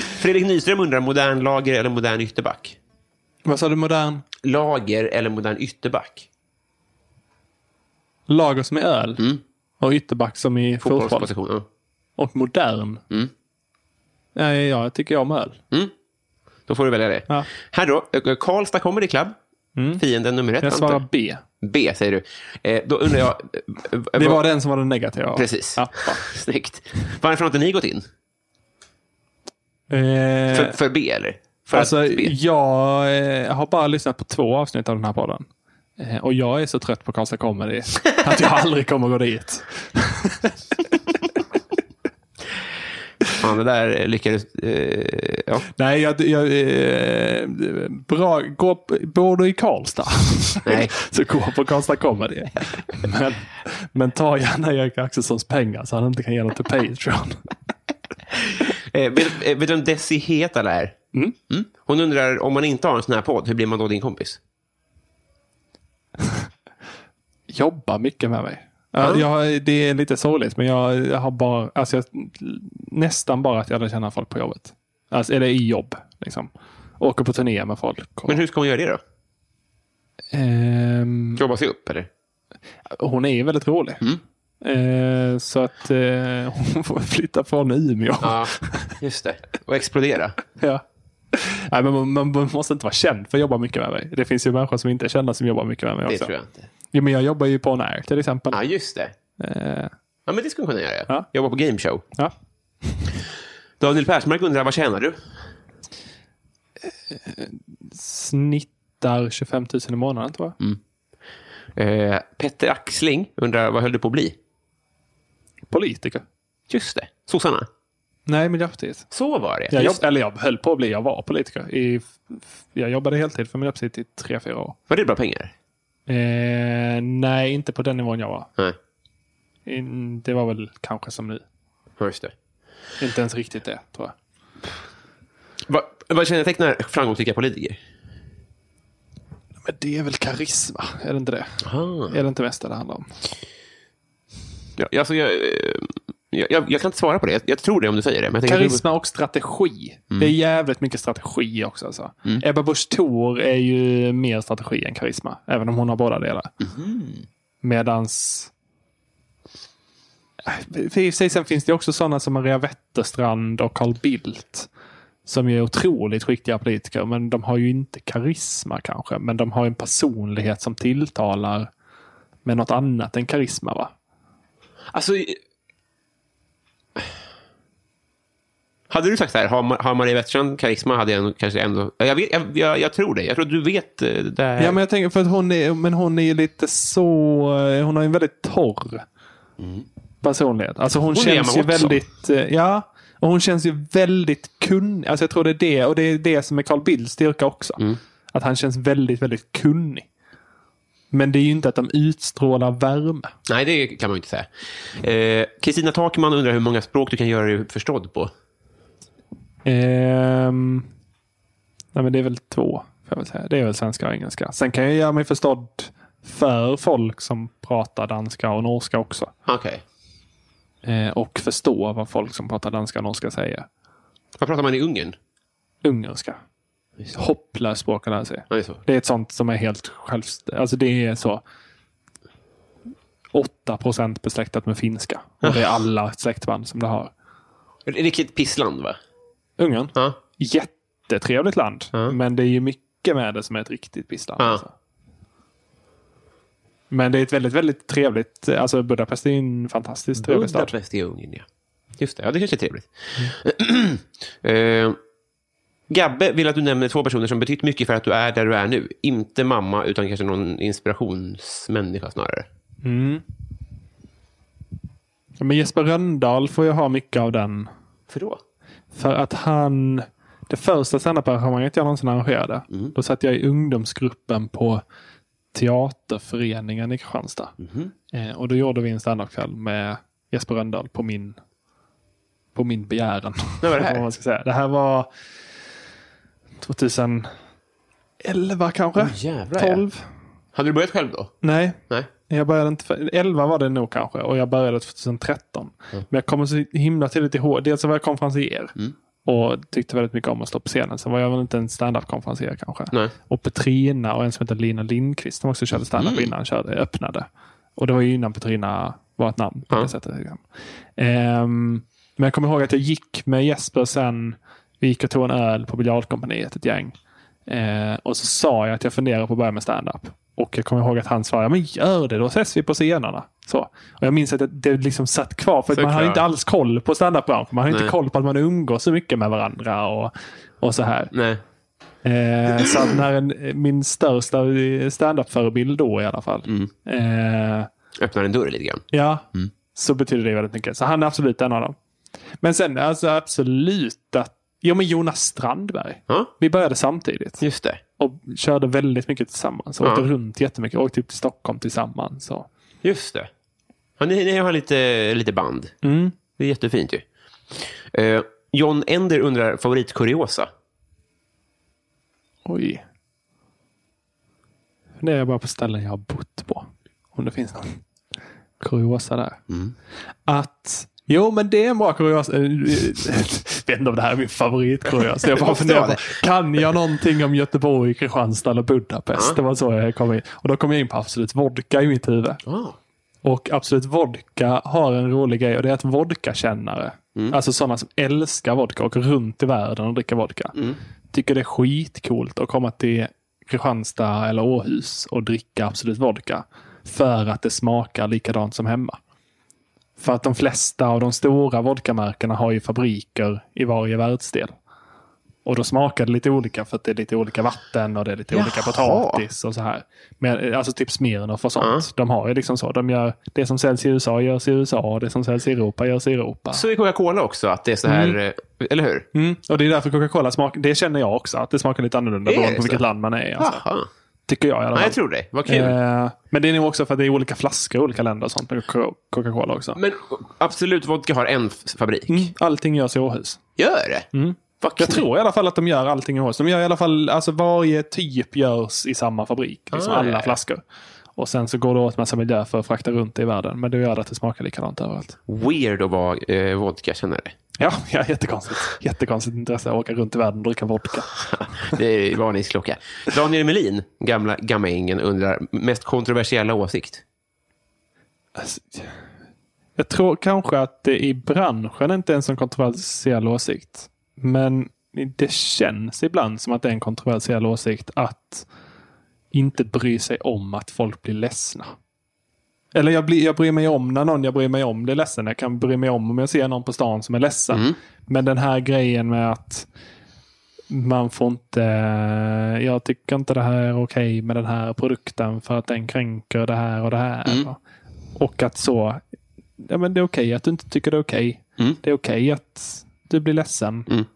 Fredrik Nyström undrar, modern lager eller modern ytterback?
Vad sa du, modern?
Lager eller modern ytterback?
Lager som i öl. Och ytterback som i fotboll.
Mm. Fotbollsposition. Mm.
Och modern. Nej, ja, jag tycker om öl.
Då får du välja det.
Ja. Mm.
Här då, eh, Karlstad Comedy Club. Fienden nummer ett.
Jag svarar
antar
B.
jag. B, säger du. Eh, då undrar jag... eh,
Det var den som var den negativa.
Precis.
Ja.
Snyggt. Varför har inte ni gått in?
Eh,
För, för B, eller? För
alltså,
att B.
jag eh, har bara lyssnat på två avsnitt av den här podden. Eh, och jag är så trött på Karlstad Comedy att jag aldrig kommer gå dit.
Fan, det där lyckades... Eh, ja.
Nej, jag... jag eh, bra, gå, på- bor du i Karlstad?
Nej.
så gå på Karlstad Comedy. Men, men ta gärna Erik Axelssons pengar så han inte kan ge dem till Patreon.
Eh, vet, eh, vet du vem Desi Hetala är? Mm. Hon undrar, om man inte har en sån här podd, hur blir man då din kompis?
jobbar mycket med mig. Ja, Jag, det är lite sorgligt, men jag, jag har bara, alltså jag, nästan bara att jag lär känna folk på jobbet. Alltså, eller i jobb. Liksom. Åker på turné med folk. Och,
Men hur ska hon göra det då?
Ehm,
Jobba sig upp, eller?
hon är ju väldigt rolig. Ehm, så att eh, hon får flytta från Umeå.
Ja, just det. Och explodera.
Ja. Nej, men man, man, man måste inte vara känd för att jobba mycket med mig. Det finns ju människor som inte är kända som jobbar mycket med mig
Det
också.
tror jag inte.
Jo, men jag jobbar ju på On Air till exempel.
Ja, just det.
Ehm,
Ja, men det skulle hon kunna göra.
Ja.
Jobba på gameshow.
ja.
Daniel Persmark undrar, vad tjänar du?
Snittar 25 000 i månaden tror jag.
Eh, Petter Axling undrar, vad höll du på att bli?
Politiker.
Just det. Sossarna.
Nej, Miljöpartiet.
Så var det.
Jag
Just
jobb, eller jag höll på att bli, jag var politiker. I, f- f- jag jobbade heltid för Miljöpartiet i tre, fyra år.
det. Var det bra pengar?
Eh, nej, inte på den nivån jag var.
Nej,
In, det var väl kanske som nu.
Ja, just det.
Inte ens riktigt det, tror jag.
Vad, vad kännetecknar framgångsrika politiker?
Men det är väl karisma? Är det inte det?
Aha.
Är det inte mest det det handlar om?
Jag, alltså, jag, eh, jag, jag, jag kan inte svara på det. Jag, jag tror det om du säger det. Mm. Men jag tänker-
Karisma och strategi. Det är jävligt mycket strategi också. Alltså.
Mm.
Ebba Busch Thor är ju mer strategi än karisma. Även om hon har båda delar.
Mm.
Medans... Äh, För i och för sig sen finns det också sådana som Maria Wetterstrand och Carl Bildt. Som ju är otroligt skickliga politiker. Men de har ju inte karisma kanske. Men de har en personlighet som tilltalar med något annat än karisma. va?
Alltså... Hade du sagt så här, har, Ma- har Maria Wetterstrand karisma hade jag nog kanske ändå... Jag, vet, jag, jag, jag tror det. Jag tror att du vet eh, det här.
Ja, men jag tänker för att hon är, men hon är ju lite så, eh, hon har ju en väldigt torr
Mm.
personlighet. Alltså hon,
är
känns
man
ju
också.
väldigt, eh, ja, och hon känns ju väldigt kunnig. Alltså jag tror det är det, och det är det som är Carl Bildts styrka också.
Mm.
Att han känns väldigt, väldigt kunnig. Men det är ju inte att de utstrålar värme.
Nej, det kan man ju inte säga. Eh, Kristina Takman undrar hur många språk du kan göra dig förstådd på.
Ehm, nej men det är väl två. Får jag väl säga. Det är väl svenska och engelska. Sen kan jag göra mig förstådd för folk som pratar danska och norska också.
Okej.
Eh, och förstå vad folk som pratar danska och norska säger.
Vad pratar man i Ungern?
Ungerska. Hopplöst språk att lära sig.
Ja, det är så.
Det är ett sånt som är helt självständigt. Alltså det är så. 8 procent besläktat med finska. Och det är alla släktband som det har.
Riktigt pissland, va?
Ungern.
Ja.
Jättetrevligt land. Men det är ju mycket med det som är ett riktigt pissland.
Ja.
Alltså. Men det är ett väldigt, väldigt trevligt. Alltså Budapest är ju en fantastiskt trevlig stad.
Budapest i Ungern, ja. Just det, ja, det kanske är trevligt. eh, Gabbe vill att du nämner två personer som betytt mycket för att du är där du är nu. Inte mamma, utan kanske någon inspirationsmänniska snarare.
Men Jesper Röndahl får ju ha mycket av den
För då?
För att han... Det första standup-arrangemanget jag någonsin arrangerade,
Mm.
då satt jag i ungdomsgruppen på Teaterföreningen i Kristianstad.
Mhm.
Eh, och då gjorde vi en standupkväll med Jesper Rönndahl på min, på min begäran.
När var det här?
Vad man ska säga. det här var 2011 kanske?
jävlar, ja.
12?
Hade du börjat själv då?
Nej,
Nej.
jag började inte för, 11 var det nog kanske och jag började 2013. Men jag kommer så himla tydligt ihåg. Dels så var jag konferencier och tyckte väldigt mycket om att stå på scenen. Sen var jag väl inte en standup-konferencier kanske.
Nej.
Och Petrina och en som heter Lina Lindqvist som också körde standup
Mm.
innan körde, öppnade. Och det var ju innan Petrina var ett namn på
Ja.
det sättet. liksom. Ehm, men jag kommer ihåg att jag gick med Jesper sen. Vi gick och tog en öl på biljardkompaniet, ett gäng. Eh, och så sa jag att jag funderar på att börja med stand-up. Och jag kommer ihåg att han sa, ja men gör det, då ses vi på scenerna. Så. Och jag minns att det, det liksom satt kvar, för att man
Såklart.
hade inte alls koll på stand-up-branschen. Man hade
Nej.
inte koll på att man umgås så mycket med varandra och, och så här.
Nej.
Eh, så att när en, min största stand-up-förebild då i alla fall. Eh,
Öppnar en dörr lite grann.
Ja, så betyder det väldigt mycket. Så han är absolut en av dem. Men sen alltså absolut att... Jo, men Jonas Strandberg.
Ja,
Vi började samtidigt
just det.
och körde väldigt mycket tillsammans. Och
Ja.
Åkte runt jättemycket. Åkte upp till Stockholm tillsammans. Och...
Just det. Ja, ni, ni har lite, lite band. Det är jättefint ju. Eh, John Ender undrar favoritkuriosa.
Oj. Funderar jag bara på ställen jag har bott på. Om det finns någon kuriosa där. Att... Jo, men det är en bra kuriosa. Eh, eh, Jag vet inte om det här är min favoritkuriosa. Jag bara
måste
funderar
vara
på, kan jag någonting om Göteborg, Kristianstad eller Budapest? Det var så jag kom in. Och då kom jag in på Absolut Vodka i mitt huvud.
Ah.
Och Absolut Vodka har en rolig grej och det är att vodkakännare, alltså sådana som älskar vodka och går runt i världen och dricker vodka, tycker det är skitcoolt att komma till Kristianstad eller Åhus och dricka Absolut Vodka. För att det smakar likadant som hemma. För att de flesta av de stora vodkamärkena har ju fabriker i varje världsdel. Och då smakar det lite olika för att det är lite olika vatten och det är lite olika potatis och så här. Men, eh, alltså typ Smirnoff och sånt. De har ju liksom så. De gör, det som säljs i USA görs i USA och det som säljs i Europa görs i Europa.
Så är Coca-Cola också, att det är så här, eh, eller hur?
Mm. Och det är därför Coca-Cola smakar, det känner jag också, att det smakar lite annorlunda
Är det
beroende på
så?
vilket land man är i. Alltså.
Jaha.
Tycker jag i alla
Ja,
fall.
jag tror det. Vad kul.
Eh, men det är nog också för att det är olika flaskor i olika länder och sånt med Coca- Coca-Cola också.
Men Absolut Vodka har en f- fabrik.
Mm. Allting görs i Åhus.
Gör det? Vad
Jag
kul.
tror i alla fall att de gör allting i Horse. De gör i alla fall, alltså varje typ görs i samma fabrik. Liksom
Ah,
alla
ja.
flaskor. Och sen så går det åt massa miljö för att frakta runt det i världen. Men det gör det att det smakar likadant överallt.
Weird att vara eh, vodkakännare.
Ja, ja jättekonstigt. Jättekonstigt intresse att åka runt i världen och dricka vodka.
Det är varningsklocka. Daniel Melin, gamla gammaängen, undrar mest kontroversiella åsikt.
Alltså, Jag tror kanske att det i branschen inte är en sån kontroversiell åsikt. Men det känns ibland som att det är en kontroversiell åsikt att inte bry sig om att folk blir ledsna. Eller jag, blir, jag bryr mig om när någon jag bryr mig om blir ledsen. Jag kan bry mig om om jag ser någon på stan som är ledsen. Men den här grejen med att man får inte... Jag tycker inte det här är okej med den här produkten för att den kränker det här och det här.
Mm.
Och att så... Ja, men det är okej att du inte tycker det är okej.
Mm.
Det är okej att du blir ledsen.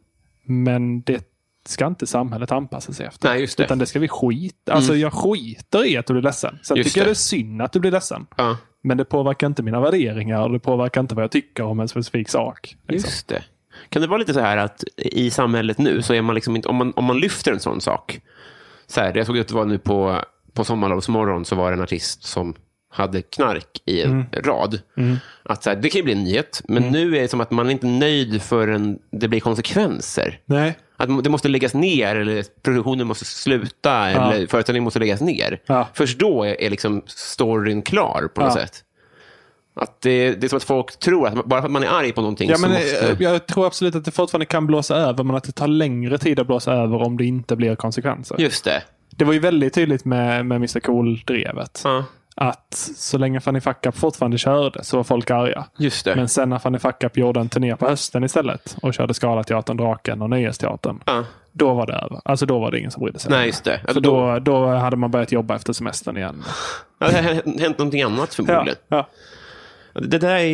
Men det ska inte samhället anpassa sig efter.
Nej, just det. Mm.
Utan det ska vi skita Alltså jag skiter i att du blir ledsen. Sen
Just
tycker jag
det.
det är synd att du blir ledsen.
Ja,
Men det påverkar inte mina värderingar och det påverkar inte vad jag tycker om en specifik sak. Liksom.
just det. Kan det vara lite så här att i samhället nu, så är man liksom inte, om, man, om man lyfter en sån sak. Så här, jag såg att det var nu på, på Sommarlovsmorgon så var det en artist som hade knark i en rad. Att så här, det kan ju bli en nyhet, men nu är det som att man är inte nöjd förrän det blir konsekvenser.
Nej.
Att det måste läggas ner, eller produktionen måste sluta, eller föreställningen måste läggas ner.
Ja.
Först då är, är liksom storyn klar på något
Ja.
sätt. Att det, det är som att folk tror att bara för att man är arg på någonting
Ja,
så
men, eh,
måste...
Jag tror absolut att det fortfarande kan blåsa över, men att det tar längre tid att blåsa över om det inte blir konsekvenser.
Just det.
Det var ju väldigt tydligt med, med Mr Cool-drevet.
Ja,
Att så länge Fanny Fuck Up fortfarande körde så var folk arga.
just det.
Men sen när Fanny Fuck Up gjorde en turné på hösten istället och körde Scalateatern, Draken och Nöjesteatern.
Ja.
Då var det över. Alltså då var det ingen som brydde sig.
Nej, just det.
För
Alltså,
då, då hade man börjat jobba efter semestern igen.
Ja, det har hänt någonting annat
Ja,
förmodligen.
ja.
Det där är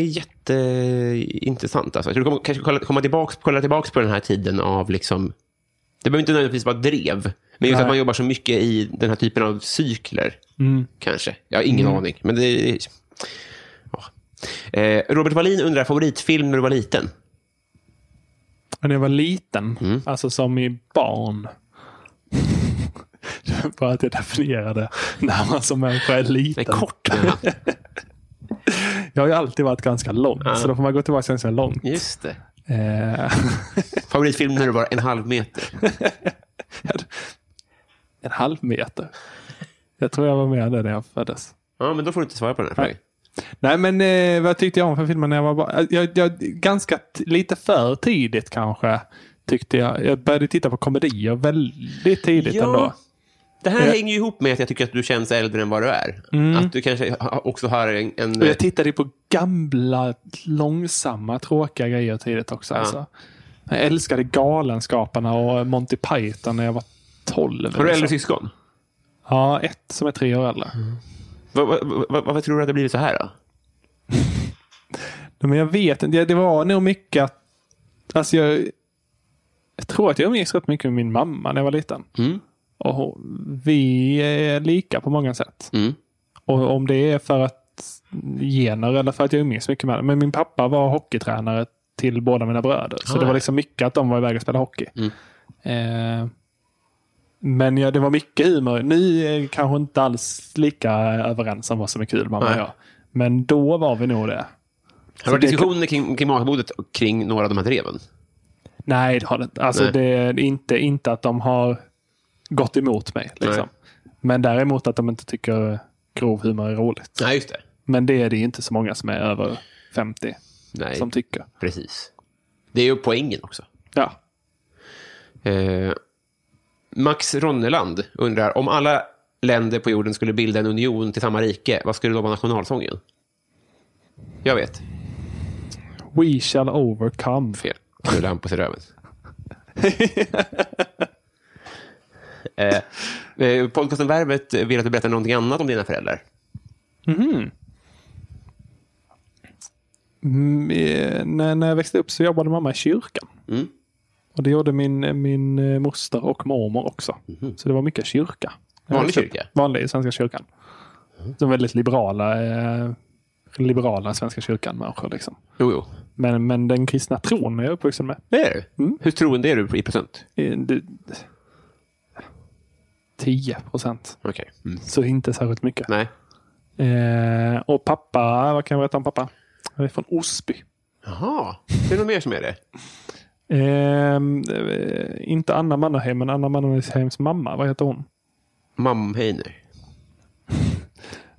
jätteintressant. Alltså. Jag tror du kommer, kanske kolla, komma tillbaks, kolla tillbaka på den här tiden av... Liksom, det behöver inte nödvändigtvis vara drev, men just
Nej. Mm.
att man jobbar så mycket i den här typen av cykler. Kanske. Jag har ingen aning. Men det är, ja. eh, Robert Wallin undrar favoritfilm när du var liten.
Men när jag var liten,
Mm.
alltså som i barn. Det var Bara att jag definierade när man som människa är liten.
Nej, kort menar han.
Jag har ju alltid varit ganska lång, så då får man gå tillbaka ganska långt.
Just det.
Eh,
Favoritfilm när du var en halv meter.
en halv meter. Jag tror jag var med där när jag föddes.
Ja, men då får du inte svara på den här frågan.
Nej, men eh, vad tyckte jag om för filmen när jag var barn? Jag, jag, ganska t- lite för tidigt kanske. Tyckte jag. jag började titta på komedier väldigt tidigt
Ja.
ändå.
Det här
Eh.
hänger ju ihop med att jag tycker att du känns äldre än vad du är. Att du kanske ha- också har en... en
Mm. Och jag tittade ju på gamla, långsamma, tråkiga grejer tidigt också. Alltså. Jag älskade Galenskaparna och Monty Python när jag var 12.
har du äldre
liksom.
syskon? Mm.
Ja, ett som är tre år äldre.
Vad- vad- vad- vad- Varför tror du att det har blivit så här då?
Nej, Men jag vet inte. Det- Det var nog mycket att... Alltså jag, jag tror att jag umgicks rätt mycket med min mamma när jag var liten.
Mm.
Och hon- vi är lika på många sätt.
Mm.
Och om det är för att gener eller för att jag umgicks mycket med det. Men min pappa var hockeytränare till båda mina bröder. Så
Ah,
det var liksom mycket att de var iväg och spelade hockey.
Mm.
Eh, men ja, det var mycket humor. Ni är kanske inte alls lika överens om vad som är kul, mamma och
Nej.
jag. Men då var vi nog det.
Har det varit
det-
diskussioner kring, kring matbordet och kring några av de här dreven?
Nej, det har det inte. Alltså,
Nej.
det är inte, inte att de har gått emot mig. Liksom. Men däremot att de inte tycker grov humor är roligt.
Nej, just det.
Men det är det ju inte så många som är över 50
Nej,
som tycker.
precis. Det är ju poängen också.
Ja.
Eh, Max Ronneland undrar, om alla länder på jorden skulle bilda en union till samma rike, vad skulle då vara nationalsången? Jag vet.
We shall overcome.
Fel. Knulla Hampus i röven. eh, eh, podcasten Värvet vill att du berättar någonting annat om dina föräldrar.
Mm, eh, när, när jag växte upp så jobbade mamma i kyrkan.
Mm.
Och det gjorde min, min eh, moster och mormor också. Så det var mycket kyrka. När
Mhm.
jag
Vanlig
växte upp.
kyrka? Mhm.
Vanlig Svenska kyrkan. De väldigt liberala, eh, liberala Svenska kyrkan-människor. Liksom.
Jo, jo.
Men, men den kristna tron är jag uppvuxen med.
Det är du? Hur troende är du i procent?
Eh, det- 10 procent.
Okej.
Så inte särskilt mycket.
Nej.
Eh, och pappa, vad kan jag berätta om pappa? Han är från Osby.
Jaha. Är det någon mer som är det?
Ehm, Eh, inte Anna Mannerheim, men Anna Mannerheims mamma. Vad heter hon?
Mamheiner.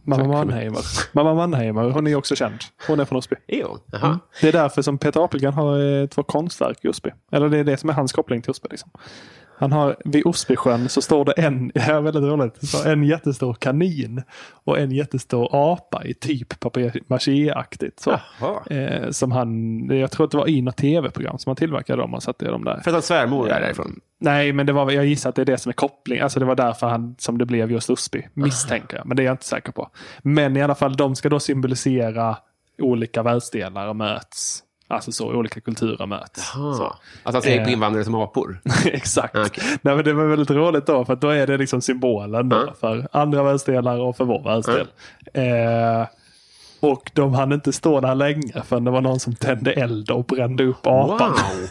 Mamma
Tack för mig.
Mannheimer. Mamma Mannheimer. Hon är ju också känd. Hon är från Osby.
Är hon? Jaha.
Det är därför som Peter Apelgren har eh, två konstverk i Osby. Eller det är det som är hans koppling till Osby. Liksom. Han har, vid Osbysjön så står det en, det här är väldigt roligt, så en jättestor kanin och en jättestor apa i typ papier-maché-aktigt. Så,
Jaha.
eh, som han, jag tror att det var i något tv-program som han tillverkade dem och satte dem där.
För att hans svärmor är därifrån.
Nej, men det var, jag gissar att det är det som är kopplingen. Alltså det var därför han, som det blev just Osby, misstänker jag. Men det är jag inte säker på. Men i alla fall, de ska då symbolisera olika världsdelar möts. Alltså så, olika kulturer möts.
Så. Att hans eget invandrare som apor.
Exakt.
Okej.
Nej, men det var väldigt roligt då, för att då är det liksom symbolen då,
Mm.
för andra världsdelar och för vår världsdel. Eh, och de hann inte stå där länge förrän det var någon som tände eld och brände upp apan.
Wow!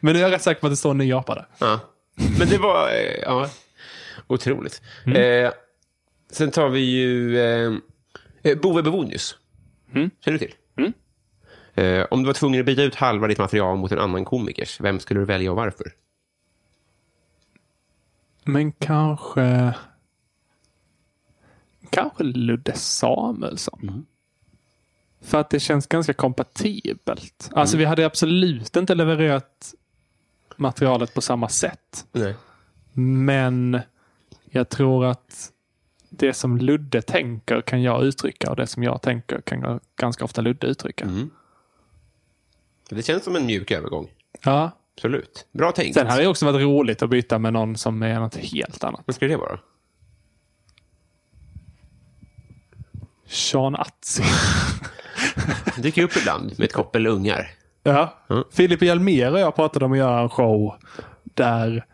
Men jag är rätt säker på att det står en ny apa där.
Ja. Men det var... eh, Ja. Otroligt. Eh, sen tar vi ju eh, eh, Bove Bevonius. Känner du till? Eh, om du var tvungen att byta ut halva ditt material mot en annan komikers, vem skulle du välja och varför?
Men kanske... Kanske Ludde Samuelsson. För att det känns ganska kompatibelt. Alltså vi hade absolut inte levererat materialet på samma sätt.
Nej.
Men jag tror att det som Ludde tänker kan jag uttrycka och det som jag tänker kan jag ganska ofta Ludde uttrycka.
Det känns som en mjuk övergång.
Ja.
Absolut. Bra tänkt.
Sen hade det också varit roligt att byta med någon som är något helt annat.
Vad skulle det vara?
Sean Atzi.
Dyker upp ibland med ett koppel ungar.
Ja.
Mm.
Filip Hjelmér och jag pratade om att göra en show där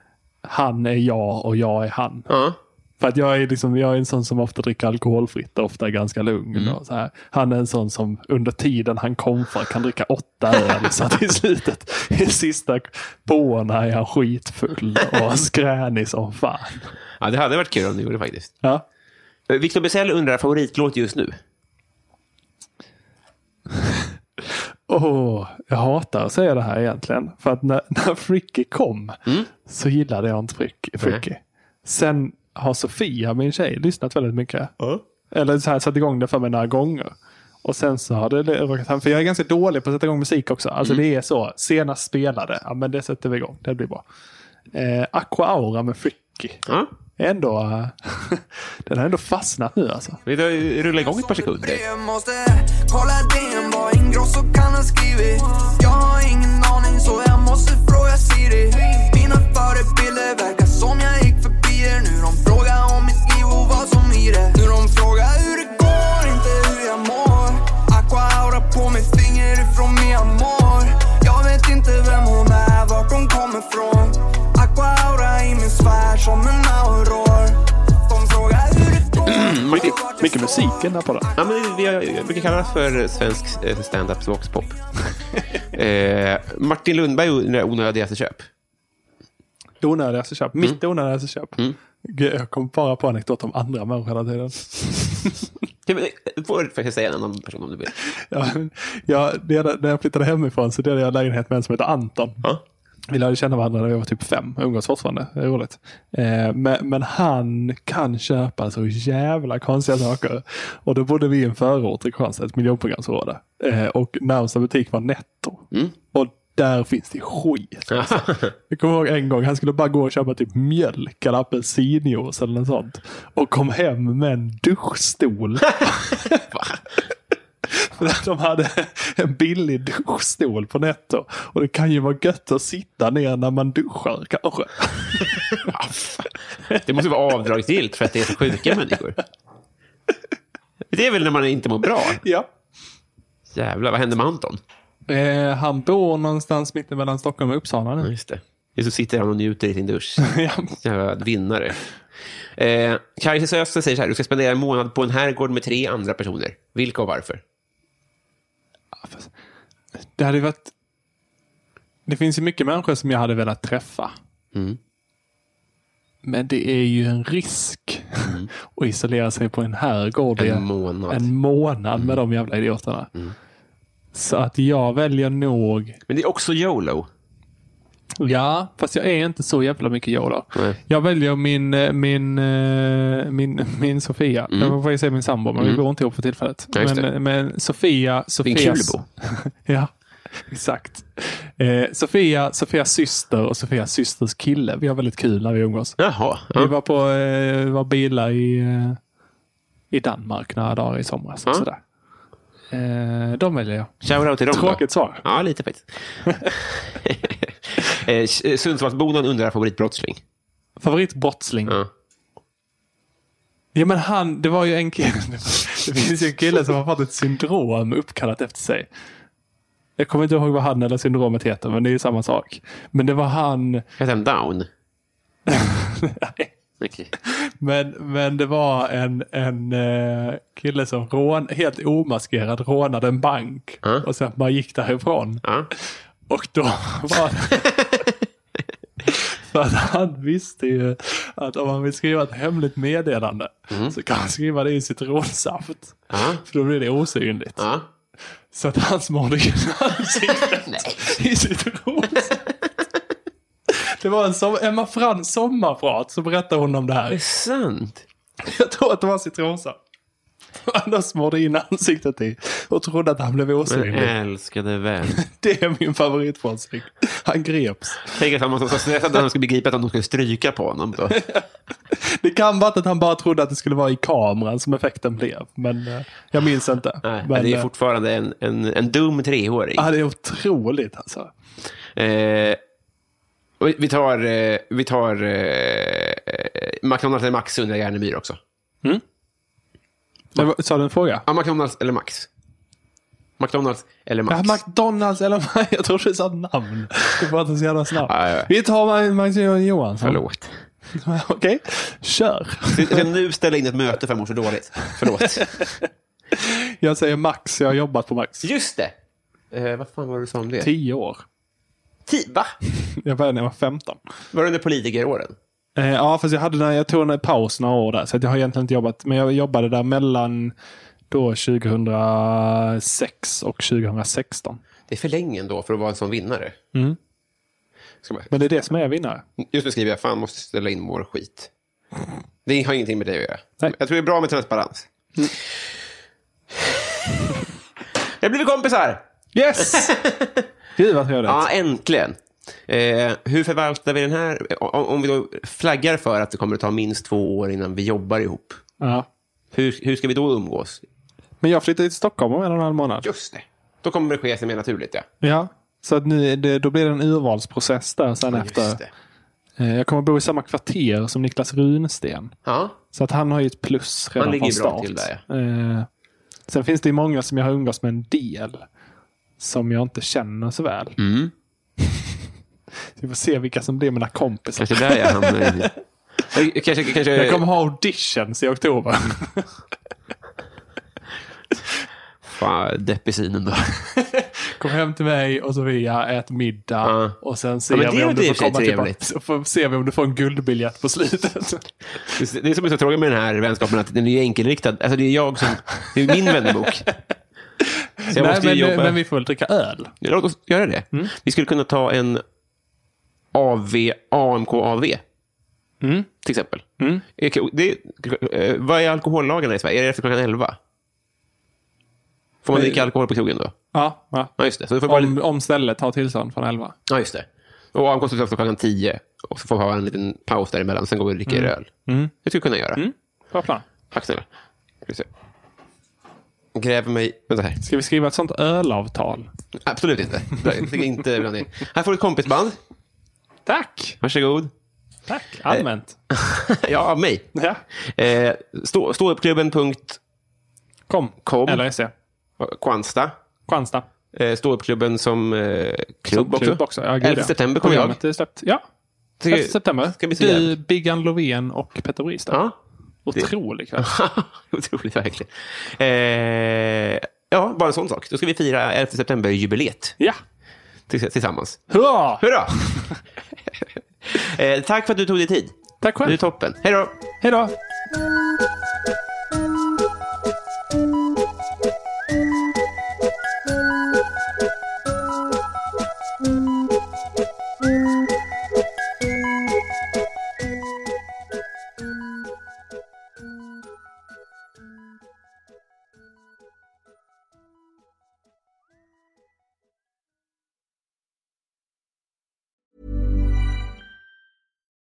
han är jag och jag är han.
Ja.
För att jag är, liksom, jag är en sån som ofta dricker alkoholfritt och ofta är ganska lugn. Och så här. Han är en sån som under tiden han komfar kan dricka åtta öl. så att i slutet, i sista påorna är han skitfull och skränig som fan.
ja, det hade varit kul om du gjorde det faktiskt.
Ja.
Eh, Victor Bessell undrar favoritlåt just nu.
Åh, jag hatar att säga det här egentligen. För att när, när Fricky kom så gillade jag inte Frick, Fricky. Sen har Sofia, min tjej, lyssnat väldigt mycket. Eller så här, satt igång det för mig några gånger. Och sen så har det råkat hem. För jag är ganska dålig på att sätta igång musik också. Alltså det är så. Senast spelade. Ja men det sätter vi igång. Det blir bra. Eh, Aqua Aura med Fricky.
Ja.
Ändå. eh, den har ändå fastnat nu alltså.
Vi tar- rullar igång ett par sekunder.
Jag måste kolla DM vad Ingrosso kan ha skrivit Jag har ingen aning så jag måste fråga Siri Mina förebilder verkar som jag gick förbi det Nu de frågar om mitt liv och vad som i det Nu de frågar hur det går, inte hur jag mår Aqua aura på mitt finger ifrån Mia Moore Jag vet inte vem hon är, vart hon kommer från Aqua aura i min sfär som en auror De frågar hur det går
Mm, Mycket-
Mycket musik i den här podden.
Ja, men vi har, jag brukar kalla det för svensk eh, stand-up voxpop. eh, Martin Lundberg undrar onödigaste köp.
Onödigaste köp. Mitt onödigaste köp. Gud, jag kom bara på anekdot om andra människor hela tiden.
Ja, men, Du får faktiskt säga en annan person om du vill.
Jag, jag, delade- när jag flyttade hemifrån så delade jag lägenhet med en som heter Anton.
Ja.
Vi lärde känna varandra när vi var typ fem. Umgås fortfarande. Det är roligt. Eh, men, men han kan köpa så jävla konstiga saker. Och då bodde vi i en förort i Kristianstad, ett miljonprogramsområde. Eh, och närmsta butik var Netto. Och där finns det skit. Alltså. Jag kommer ihåg en gång, han skulle bara gå och köpa typ mjölk eller apelsinjuice eller något sånt. Och kom hem med en duschstol. För att de hade en billig duschstol på Netto. Och det kan ju vara gött att sitta ner när man duschar kanske.
Det måste vara avdragsgillt för att det är så sjuka människor. Det är väl när man inte mår bra.
Ja.
Jävlar, vad hände med Anton?
Eh, han bor någonstans mitt mellan Stockholm och Uppsala
Ja,
nu.
just det. Det är så sitter han och njuter i sin dusch.
Ja.
Jävla vinnare. Eh, Kajsa Söster säger så här, du ska spendera en månad på en herrgård med tre andra personer. Vilka och varför?
det hade ju varit... Det finns ju mycket människor som jag hade velat träffa.
Mm.
Men det är ju en risk att isolera sig på en herrgård i
Mm. En månad. Mm.
en månad med de jävla idioterna. Så att jag väljer nog
Men det är också YOLO.
Ja, fast jag är inte så jävla mycket jag då.
Nej.
Jag väljer min, eh, min, eh, min, min Sofia. Jag får ju säga min sambo, men vi bor inte ihop för tillfället.
Mm. Ja, just det.
men, eh, men Sofia...
Din
Sofias,
kulbo.
ja, exakt. Eh, Sofia, Sofias syster och Sofias systers kille. Vi har väldigt kul när vi umgås.
Jaha.
Vi
Ja.
var på eh, vi var bilar i, eh, i Danmark några dagar i somras. och
Ja.
Sådär. Eh, de väljer jag.
Shoutout till dem då.
Tråkigt svar.
Ja, lite faktiskt. eh, Sundsvallsbonan undrar favoritbrottsling.
Favoritbrottsling.
Ja.
Ja men han, det var ju en kille. Det finns ju en kille som har fått ett syndrom uppkallat efter sig. Jag kommer inte ihåg vad han eller syndromet heter, men det är ju samma sak. Men det var han.
Heter han Down? Okej.
Men, men det var en, en eh, kille som rån, helt omaskerad rånade en bank.
Ja.
Och sen bara gick därifrån.
Ja.
Och då var det... För att han visste ju att om han vill skriva ett hemligt meddelande så kan han skriva det i citronsaft. För då blir det osynligt.
Ja.
Så att han smorde in ansiktet i citronsaft. Det var en som, Emma Frans sommarprat så berättade hon om det
Det
här.
är sant.
Jag tror att det var citronsaft. Han smorde in ansiktet i och trodde att han blev
Men
osynlig.
älskade vän.
Det är min favoritfrånsring. Han greps.
Tänk att han måste vara så stressad när han ska begripa att de ska stryka på honom. Då.
Det kan vara att han bara trodde att det skulle vara i kameran som effekten blev. Men eh, jag minns inte.
Nej,
men,
det är
eh,
fortfarande en, en, en dum treåring.
ja, det är otroligt alltså.
Eh, och vi tar, eh, vi tar eh, McDonalds eller Max undrar Järnemyr också.
Det var, sa du en fråga?
Ja, McDonalds eller Max? McDonalds eller Max?
Ja, McDonalds eller jag tror du sa namn. Det var inte så jävla snabbt.
Ja, ja, ja.
Vi tar Mag- Magnus Johansson.
Förlåt.
Okej, kör.
Jag ska nu ställa in ett möte för jag mår så dåligt. Förlåt.
Jag säger Max, jag har jobbat på Max.
Just det! Eh, vad fan var det du sa om det?
Tio år.
Ti- va?
Jag började när jag var 15.
Var det under politikeråren?
Eh, ja, fast jag, hade, när- jag tog en paus några år där. Så att jag har egentligen inte jobbat. Men jag jobbade där mellan då 2006 och 2016.
Det är för länge ändå för att vara en sån vinnare.
Mm.
Ska bara,
Men det är det som är vinnare.
just nu skriver jag fan måste ställa in vår skit. Det har ingenting med det att göra.
Nej.
Jag tror det är bra med transparens. jag blir kompisar!
Yes! Gud vad trevligt.
Ja, äntligen. Eh, hur förvaltar vi den här? Om, om vi då flaggar för att det kommer att ta minst två år innan vi jobbar ihop.
Ja.
Hur, hur ska vi då umgås?
Men jag flyttade till Stockholm om en och en halv månad.
Just det. Då kommer det ske sig mer naturligt, ja.
Ja. Så att nu, är det, då blir det en urvalsprocess där sen efter.
Mm. Just det.
Eh, Jag kommer bo i samma kvarter som Niklas Runsten.
Ja.
Så att han har ju ett plus redan
Han ligger
från
bra
start.
till där,
Eh, Sen finns det ju många som jag har umgås med en del. Som jag inte känner så väl.
Mm.
Vi får se vilka som blir mina kompisar.
Kanske där jag hamnar i. Jag- Kanske, kanske...
Jag kommer ha auditions i oktober.
Fan, depp i synen då.
Kom hem till mig och Sofia, ät middag.
Ja.
Och sen ser
Ja, men det
vi
är
om
ju i och
du
för
får
sig
komma tillbaka.
trevligt.
Så får- ser vi om du får en guldbiljett på slutet.
Det det är som är så tråkigt med den här vänskapen, att den är ju enkelriktad. Alltså, det är jag som... Det är min vänbok. Så jag
Nej,
måste ju
men,
jobba...
men vi Mm. får väl dricka öl.
Ja, Låt oss göra det. Vi skulle kunna ta en AV, AMK AV.
Mm.
Till exempel. Är- Det, eh, vad är alkohollagarna i Sverige? Är det efter klockan 11? Får man dricka alkohol på krogen då?
Ja, ja.
Ja, just det. Så det får vara
Eh. Om,
lite,
om stället har tillstånd från 11.
ja, just det. Och AMK slutar efter klockan 10. Och så får vi ha en liten paus däremellan. Sen går vi och dricker
Mm.
öl. Det skulle vi kunna göra.
Bra plan.
Tack snälla. Ska vi se. Gräver mig... Vänta här.
Ska vi skriva ett sånt ölavtal?
Absolut inte. Jag tycker inte blanda in. Här får du ett kompisband.
Tack!
Varsågod.
Tack! Allmänt.
Ja, av mig.
Ja.
Eh, stå, ståuppklubben.com,
Kom.
Kom.
Eller SE.
Kvansta.
Kristianstad.
Eh, ståuppklubben som eh, klubb också.
Ja, gud,
11
ja.
september kommer jag.
Programmet är släppt. Ja.
Tycker-
11 september.
Ska bli så
du,
jävligt.
Biggan Lovén och Petter Bristad.
Ja.
Otrolig kväll.
Otroligt verkligen. Eh, Ja, bara en sån sak. Då ska vi fira 11 september-jubileet
Ja!
tills- tillsammans.
Hurra!
Hurra! eh, tack för att du tog dig tid.
Tack
Du är
själv.
toppen. Hej då!
Hej då!